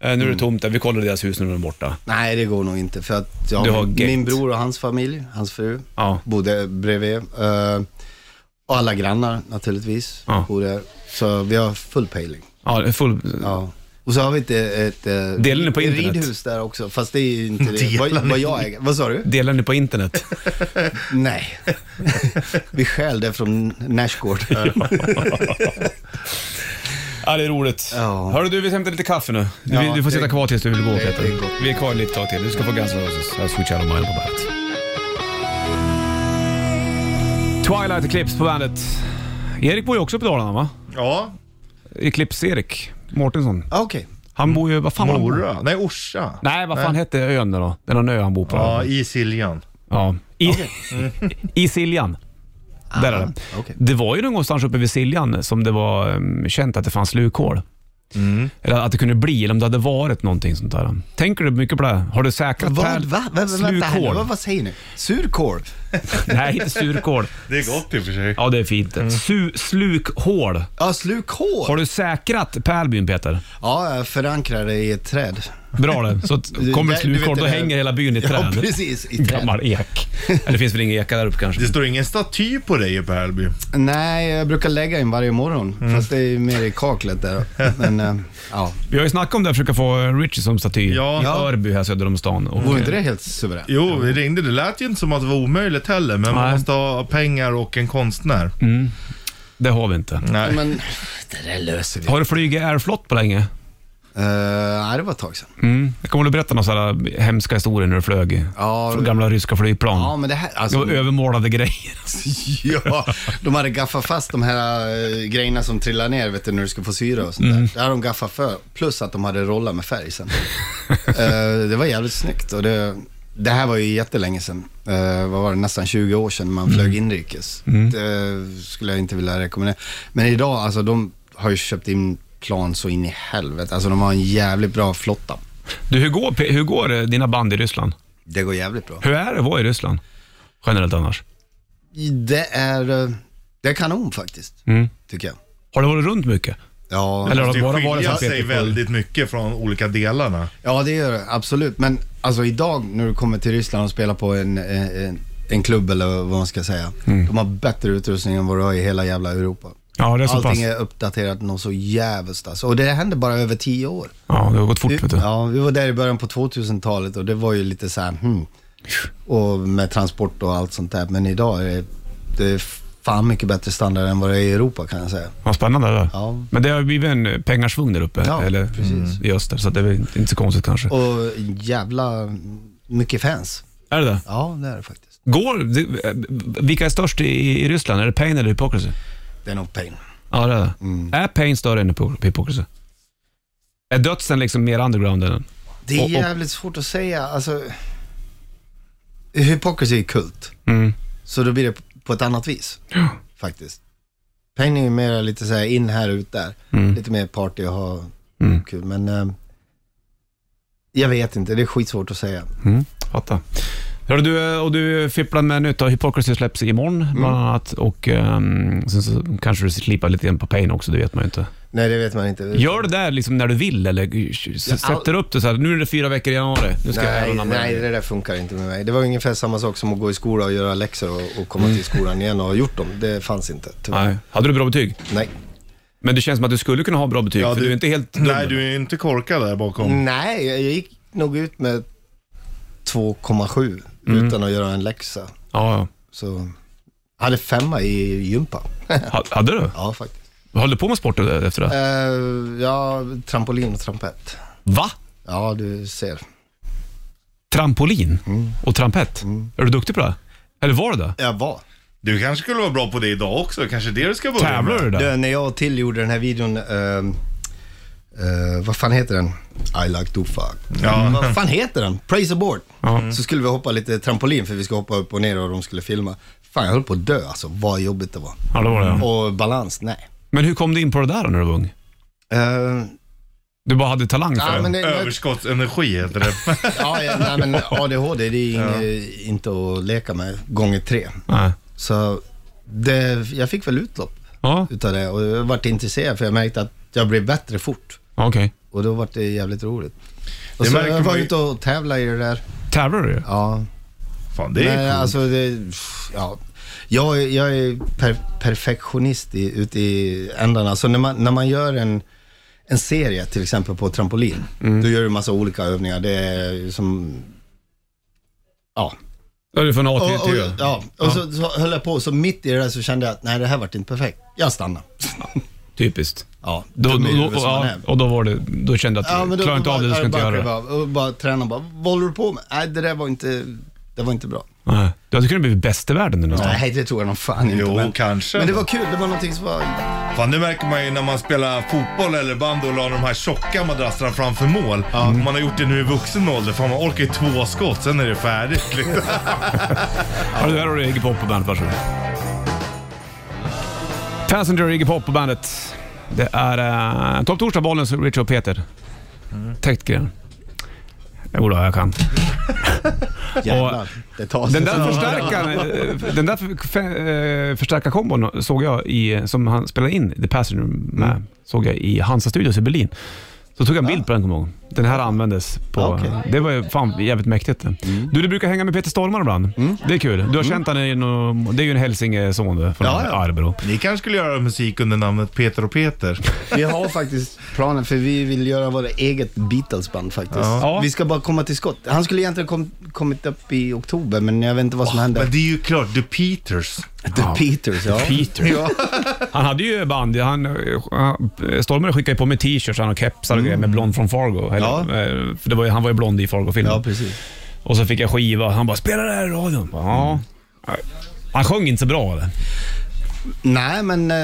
S2: Eh, nu är
S9: Mm.
S2: det tomt där, vi kollar deras hus nu när de är borta.
S9: Nej, det går nog inte för att jag,
S2: Du har
S9: min,
S2: gate.
S9: bror och hans familj, hans fru,
S2: Ja.
S9: bodde bredvid. Eh, och alla grannar naturligtvis
S2: Ja.
S9: bor där. Så vi har full pejling.
S2: Ja, det är full,
S9: Ja. Och så har vi ett, eh, ett, ett
S2: Delar ni på internet?
S9: ridhus där också, fast det är ju inte det.
S3: Delar
S9: vad,
S3: ni?
S9: vad jag äger. Vad sa du?
S2: Delar ni på internet?
S9: Nej. vi stjäl det från Nashgård.
S2: ja, det är roligt.
S9: Ja.
S2: Hörru du, vi hämtar lite kaffe nu. Du,
S9: Ja,
S2: vill- du får
S9: det-
S2: sitta kvar tills du vill gå
S9: det är
S2: Peter.
S9: gott.
S2: Vi är kvar lite tag till. Du ska få Guns N' Roses. Här Sweet Child of Mine på bandet. Twilight Eclipse på bandet. Erik bor ju också på Dalarna va?
S3: Ja,
S2: Eclipse-Erik Mårtensson.
S9: Ah, Okej.
S2: Han bor ju, vad fan var han bor?
S3: Mora. Nej, Orsa.
S2: Nej, vad fan hette ön nu då? Det är någon ö han bor på.
S3: Ja, i Siljan.
S2: Ja. I, I Siljan. Där är det.
S9: Mm. Ah, okej.
S2: Det var ju någonstans uppe vid Siljan som det var um, känt att det fanns slukhål.
S9: Mm.
S2: Eller att det kunde bli, eller om det hade varit någonting sånt där. Tänker du mycket på det? här? Har du säkrat
S9: Vad?
S2: pärl-
S9: Va? Vä- vä- Vänta här nu.
S2: slukhål?
S9: Vad, vad säger ni? Surkål?
S2: Nej, inte surkål.
S3: Det är gott i och för sig.
S2: Ja, det är fint.
S9: Mm.
S2: Su- slukhål.
S9: Ja, slukhål.
S2: Har du säkrat Pärlbyn, Peter?
S9: Ja, jag förankrar det i ett träd.
S2: Bra det. Så att kommer ett
S9: Du vet
S2: slukhål,
S9: det
S2: då
S9: där-
S2: hänger hela byn i
S9: Ja,
S2: träd.
S9: precis. I träd.
S2: Gammal ek. Eller det finns väl ingen eka där uppe kanske?
S3: Det står ingen staty på dig i Pärlby.
S9: Nej, jag brukar lägga in varje morgon.
S2: Mm.
S9: Fast det är ju mer i kaklet där. Men, eh, ja.
S2: Vi har ju snackat om det, att försöka få eh, Richie som staty
S3: Ja.
S2: i Örby här söder om stan. Och,
S9: Vore inte det helt suveränt?
S3: Jo, vi ringde. Det lät ju inte som att det var omöjligt heller, men man
S2: Nej. Mm.
S3: måste ha pengar och en konstnär.
S2: Det har vi inte.
S3: Nej.
S9: Men det där löser vi.
S2: Har du flugit Airflot på länge?
S9: Eh, nej, det var ett tag sedan.
S2: Mm. Jag kommer du berätta några sådana hemska historier när du flög?
S9: Ja,
S2: Från gamla ryska flygplan.
S9: Ja, men det här...
S2: Det var
S9: Alltså,
S2: övermålade grejer.
S9: ja, de hade gaffat fast de här eh, grejerna som trillar ner vet du, när du ska få syre och sånt
S2: Mm.
S9: där. Det hade de gaffat för. Plus att de hade rollat med färg sen. Eh, det var jävligt snyggt. Och det, det här var ju jättelänge sedan. Eh, vad var det? Nästan 20 år sedan man
S2: Mm.
S9: flög inrikes. Det skulle jag inte vilja rekommendera. Men idag, alltså de har ju köpt in plan så in i helvete. Alltså de har en jävligt bra flotta.
S2: Du, hur går, hur går eh, dina band i Ryssland?
S9: Det går jävligt bra.
S2: Hur är det att vara i Ryssland? Generellt annars.
S9: Det är, eh, det är kanon faktiskt, tycker jag.
S2: Har du varit runt mycket?
S9: Ja,
S2: Mm. Eller har
S3: Det
S2: det bara varit
S3: skiljer
S2: Sankt
S3: sig
S2: Petersburg?
S3: väldigt mycket från olika delarna.
S9: ja, det gör det absolut. Men alltså idag när du kommer till Ryssland och spelar på en, en, en klubb eller vad man ska säga. De har bättre utrustning än vad du har i hela jävla Europa.
S2: Ja, Mm. det är så pass.
S9: Allting är uppdaterat något så jävligt alltså. Och det hände bara över tio år.
S2: Ja, det har gått fort vet du.
S9: Ja, vi var där i början på 2000-talet och det var ju lite så här, hmm. Och med transport och allt sånt där. Men idag är det, det är fan mycket bättre standard än vad det är i Europa kan jag säga.
S2: Vad spännande det där.
S9: Ja.
S2: Men det har blivit en pengasvung där uppe,
S9: Ja,
S2: eller Mm. i öster, så det är väl inte så konstigt kanske.
S9: Och jävla mycket fans.
S2: Är det det?
S9: Ja, det är det faktiskt.
S2: Går, det, eh, vilka är störst i, i Ryssland? Är det Pain eller Hypocrisy?
S9: Det är nog pain.
S2: Ja, det är det.
S9: Mm.
S2: Är Pain större än Hypo- Hypocrisy? Är dödsen liksom mer underground än den?
S9: Det är
S2: Och- och-
S9: jävligt svårt att säga. Alltså, hypocrisy är kult.
S2: Mm.
S9: Så då blir det på ett annat vis. Faktiskt. Pain är ju mer lite så här in här ut där.
S2: Mm.
S9: Lite mer party och ha kul. Men eh, jag vet inte, det är skitsvårt att säga.
S2: Fattar. Hörru du, eh, och du fipplar med nytt av Hypocrisy släpps imorgon
S9: Mm.
S2: bland annat och ehm, sen så kanske du slipar lite grann på Pain också, det vet man ju inte.
S9: Nej, det vet man inte.
S2: Gör du det där liksom när du vill eller s- sätter du upp det så här, nu är det fyra veckor i januari, nu ska jag
S9: Nej,
S2: även använda
S9: nej, det där funkar inte med mig. Det var ungefär samma sak som att gå i skola och göra läxor och, och komma till skolan igen och ha gjort dem. Det fanns inte, tyvärr.
S2: Mm. Nej. Hade du bra betyg?
S9: Nej.
S2: Men det känns som att du skulle kunna ha bra betyg, för du, är inte helt dum. Mm.
S3: Nej, du är inte korkad där bakom.
S9: Nej, jag gick nog ut med 2,7 utan att göra en läxa.
S2: Ja,
S9: Så jag hade femma i gympa.
S2: ja. Ha- Hade du?
S9: ja, faktiskt.
S2: Höll du på med sport efter det?
S9: Eh, ja, trampolin och trampett.
S2: Va?
S9: Ja, du ser.
S2: Trampolin och trampett? Är du duktig på det? Eller var du det?
S9: Jag var.
S3: Du kanske skulle vara bra på det idag också. Kanske det du ska börja
S2: Tävlar
S3: med.
S2: du där?
S9: Du, när jag och Till gjorde den här videon, ehm, eh, vad fan heter den? I like to fuck. Mm.
S3: Ja.
S9: Vad fan heter den? Praise the board. Så skulle vi hoppa lite trampolin för vi ska hoppa upp och ner och de skulle filma. Fan, jag höll på att dö alltså. Vad jobbigt det var.
S2: Ja, det var det.
S9: Och balans, nej.
S2: Men hur kom du in på det där då när du var ung?
S9: Eh,
S2: Du bara hade talang för
S9: ja, men
S2: det?
S9: det, jag,
S3: Överskottsenergi heter det.
S9: ja, ja, nej, men ADHD det är inget, inte att leka med gånger tre.
S2: Nej.
S9: Så det, jag fick väl utlopp
S2: Ja,
S9: utav det och jag vart intresserad för jag märkte att jag blev bättre fort.
S2: okej.
S9: Och då vart det jävligt roligt. Och
S3: Det
S9: så
S3: märker
S9: jag var
S3: man ju-
S9: ute och tävlade i det där.
S2: Tävlar du?
S9: Ja,
S3: Fan, det är
S9: Nej,
S3: coolt.
S9: alltså det, ja. Jag, är- jag är per, perfektionist i, ute i ändarna. Så när man, när man gör en, en serie, till exempel på trampolin,
S2: Mm.
S9: då gör du massa olika övningar. Det är ju som... Ja.
S2: Ja, det är från A
S9: Och,
S2: till
S9: och,
S2: Ö.
S9: ja. och så, så höll jag på, så mitt i det där så kände jag att nej, det här vart inte perfekt. Jag stannar.
S2: Typiskt.
S9: Ja,
S2: Då,
S9: dum i
S2: då,
S9: huvudet som man
S2: ja,
S9: är.
S2: och då var det, då kände jag att
S9: Ja,
S2: du
S9: men då,
S2: klarar inte
S9: då
S2: av det, du
S9: bara-
S2: ska inte
S9: bara
S2: göra
S9: kliva
S2: det.
S9: av Och bara träna bara, vad håller du på med? Nej, det där var inte, det var inte bra.
S2: Nej. Du hade kunnat bli bäst i världen den här
S9: Nej, det tror jag nog fan inte.
S3: Jo,
S9: men,
S3: kanske.
S9: men det var kul, det var någonting som var
S3: Fan, nu märker man ju när man spelar fotboll eller bandy och la de här tjocka madrasserna framför mål.
S2: Mm.
S3: Man har gjort det nu i vuxen ålder. Fan, man orkar ju två skott, sen är det färdigt. Liksom.
S2: Ja, det där har du Iggy Pop på bandet. Varsågod. Passenger Iggy Pop på bandet. Det är uh, Topp Torsdag, Bollnäs, Richard och Peter. Täckt gren. Jodå, jag kan.
S9: Jävlar, det tar sig
S2: Den där
S9: Alltså, så.
S2: förstärkaren, eh, den där för- för- eh, förstärkarkombon såg jag i, som han spelade in The Passenger
S9: Mm.
S2: med, såg jag i Hansa Studios i Berlin. Så tog jag en bild på den, kommer jag ihåg. Den här användes på...
S9: Ja, okej. Mm.
S2: Det var ju fan jävligt mäktigt. Du, du brukar hänga med Peter Stormare ibland. Det är kul. Du har känt honom i någon, Det är ju en hälsingeson du, från
S9: Ja, ja.
S2: Arbro.
S3: Ni kanske skulle göra musik under namnet Peter och Peter.
S9: Vi har faktiskt planen, för vi vill göra våra eget Beatles-band faktiskt.
S2: Ja.
S9: Vi ska bara komma till skott. Han skulle egentligen kom, kommit upp i oktober, men jag vet inte vad som hände.
S3: Men det är ju klart, The Peters.
S9: The Peters, ja.
S2: Peter.
S9: Ja.
S2: Han hade ju band. Han, eh, Stormare skickade ju på mig t-shirts och kepsar och grejer med Blond från Fargo. Eller,
S9: Mm. Ja.
S2: eh, för det var ju, han var ju blond i Fargo-filmen.
S9: ja, precis.
S2: Och så fick
S9: Mm.
S2: jag skiva. Han bara, spela det här i radion. Bara, Ja. Han sjöng inte så bra eller?
S9: Nej, men eh,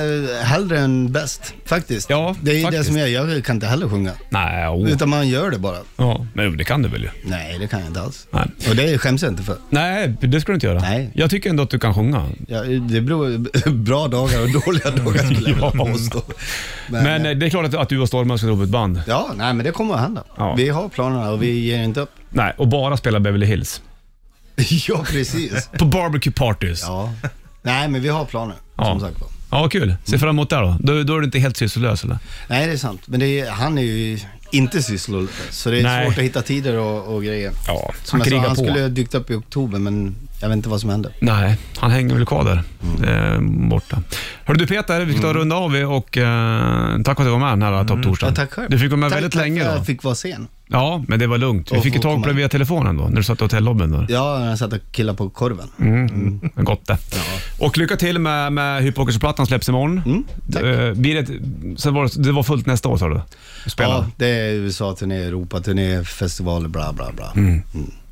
S9: hellre än bäst faktiskt.
S2: Ja,
S9: det är ju det
S2: faktiskt.
S9: som jag gör. Jag kan inte heller sjunga.
S2: Nej, åh.
S9: Utan man gör det bara.
S2: Ja, men det kan du väl ju?
S9: Nej, det kan jag inte alls.
S2: Nej.
S9: Och det skäms jag inte för.
S2: Nej, det ska du inte göra.
S9: Nej.
S2: Jag tycker ändå att du kan sjunga.
S9: Ja, det beror bra dagar och dåliga dagar skulle jag vilja påstå. Men,
S2: Men eh, det är klart att, att du och Stormen ska dra upp ett band.
S9: ja, nej, men det kommer att hända.
S2: Ja.
S9: Vi har planerna och vi ger inte upp.
S2: Nej, och bara spela Beverly Hills.
S9: ja, precis.
S2: På barbecue parties. Ja,
S9: Ja. Nej, men vi har planer,
S2: Ja.
S9: som sagt var. Mm.
S2: kul. Se fram emot det då. då. Då är du inte helt sysslolös eller?
S9: Nej, det är sant. Men det är, han är ju inte sysslolös, så det är
S2: Nej.
S9: svårt att hitta tider och, och grejer.
S2: Ja, han
S9: Som jag sa,
S2: krigar
S9: han
S2: på.
S9: skulle ha dykt upp i oktober, men jag vet inte vad som hände.
S2: Nej, han hänger väl kvar där
S9: Mm.
S2: eh, borta. Hörru du Peter, vi ska ta och runda av och eh, tack för att du var med den här topp torsdagen.
S9: Mm. Ja, tack själv.
S2: Du fick vara med
S9: tack,
S2: väldigt
S9: tack
S2: länge
S9: för att
S2: då.
S9: jag fick vara sen.
S2: Ja, men det var lugnt. Vi
S9: Och
S2: fick ju
S9: få
S2: tag på
S9: komma
S2: dig via telefonen då, när du satt i hotellobbyn. Då.
S9: Ja, när jag satt och killade på korven.
S2: Mm. Gott det. Och lycka till med, med Hypocrisy-plattan släpps imorgon.
S9: Mm, tack.
S2: Eh, blir det, ett- sen var det, det var fullt nästa år sa du? Du Spelar.
S9: Ja,
S2: Ja.
S9: det är USA-turné, Europa-turné, festivaler, bla bla bra.
S2: Mm.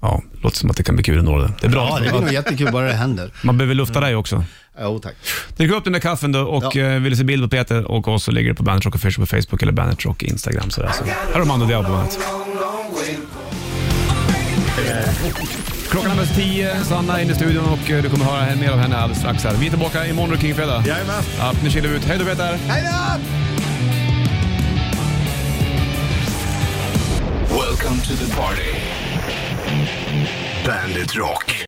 S2: ja. Låter som att det kan bli kul ändå. Det Det är bra.
S9: Ja, det blir nog jättekul bara det händer.
S2: Man behöver lufta dig också.
S9: Jo, tack.
S2: Drick upp den där kaffen då och
S9: Ja.
S2: eh, vill du se bild på Peter och oss så ligger det på Bandit Rock Official på Facebook eller Bandit Rock Instagram. Sådär. Så här har Mando Diao på bandet. Klockan är nästan tio, Sanna är inne i studion och eh, du kommer höra mer av henne alldeles strax. Här. Vi är tillbaka imorgon och Kingfredag.
S3: Jajamän.
S2: Ja, nu kilar vi ut. Hej då Peter!
S4: Welcome to the party. Bandit Rock.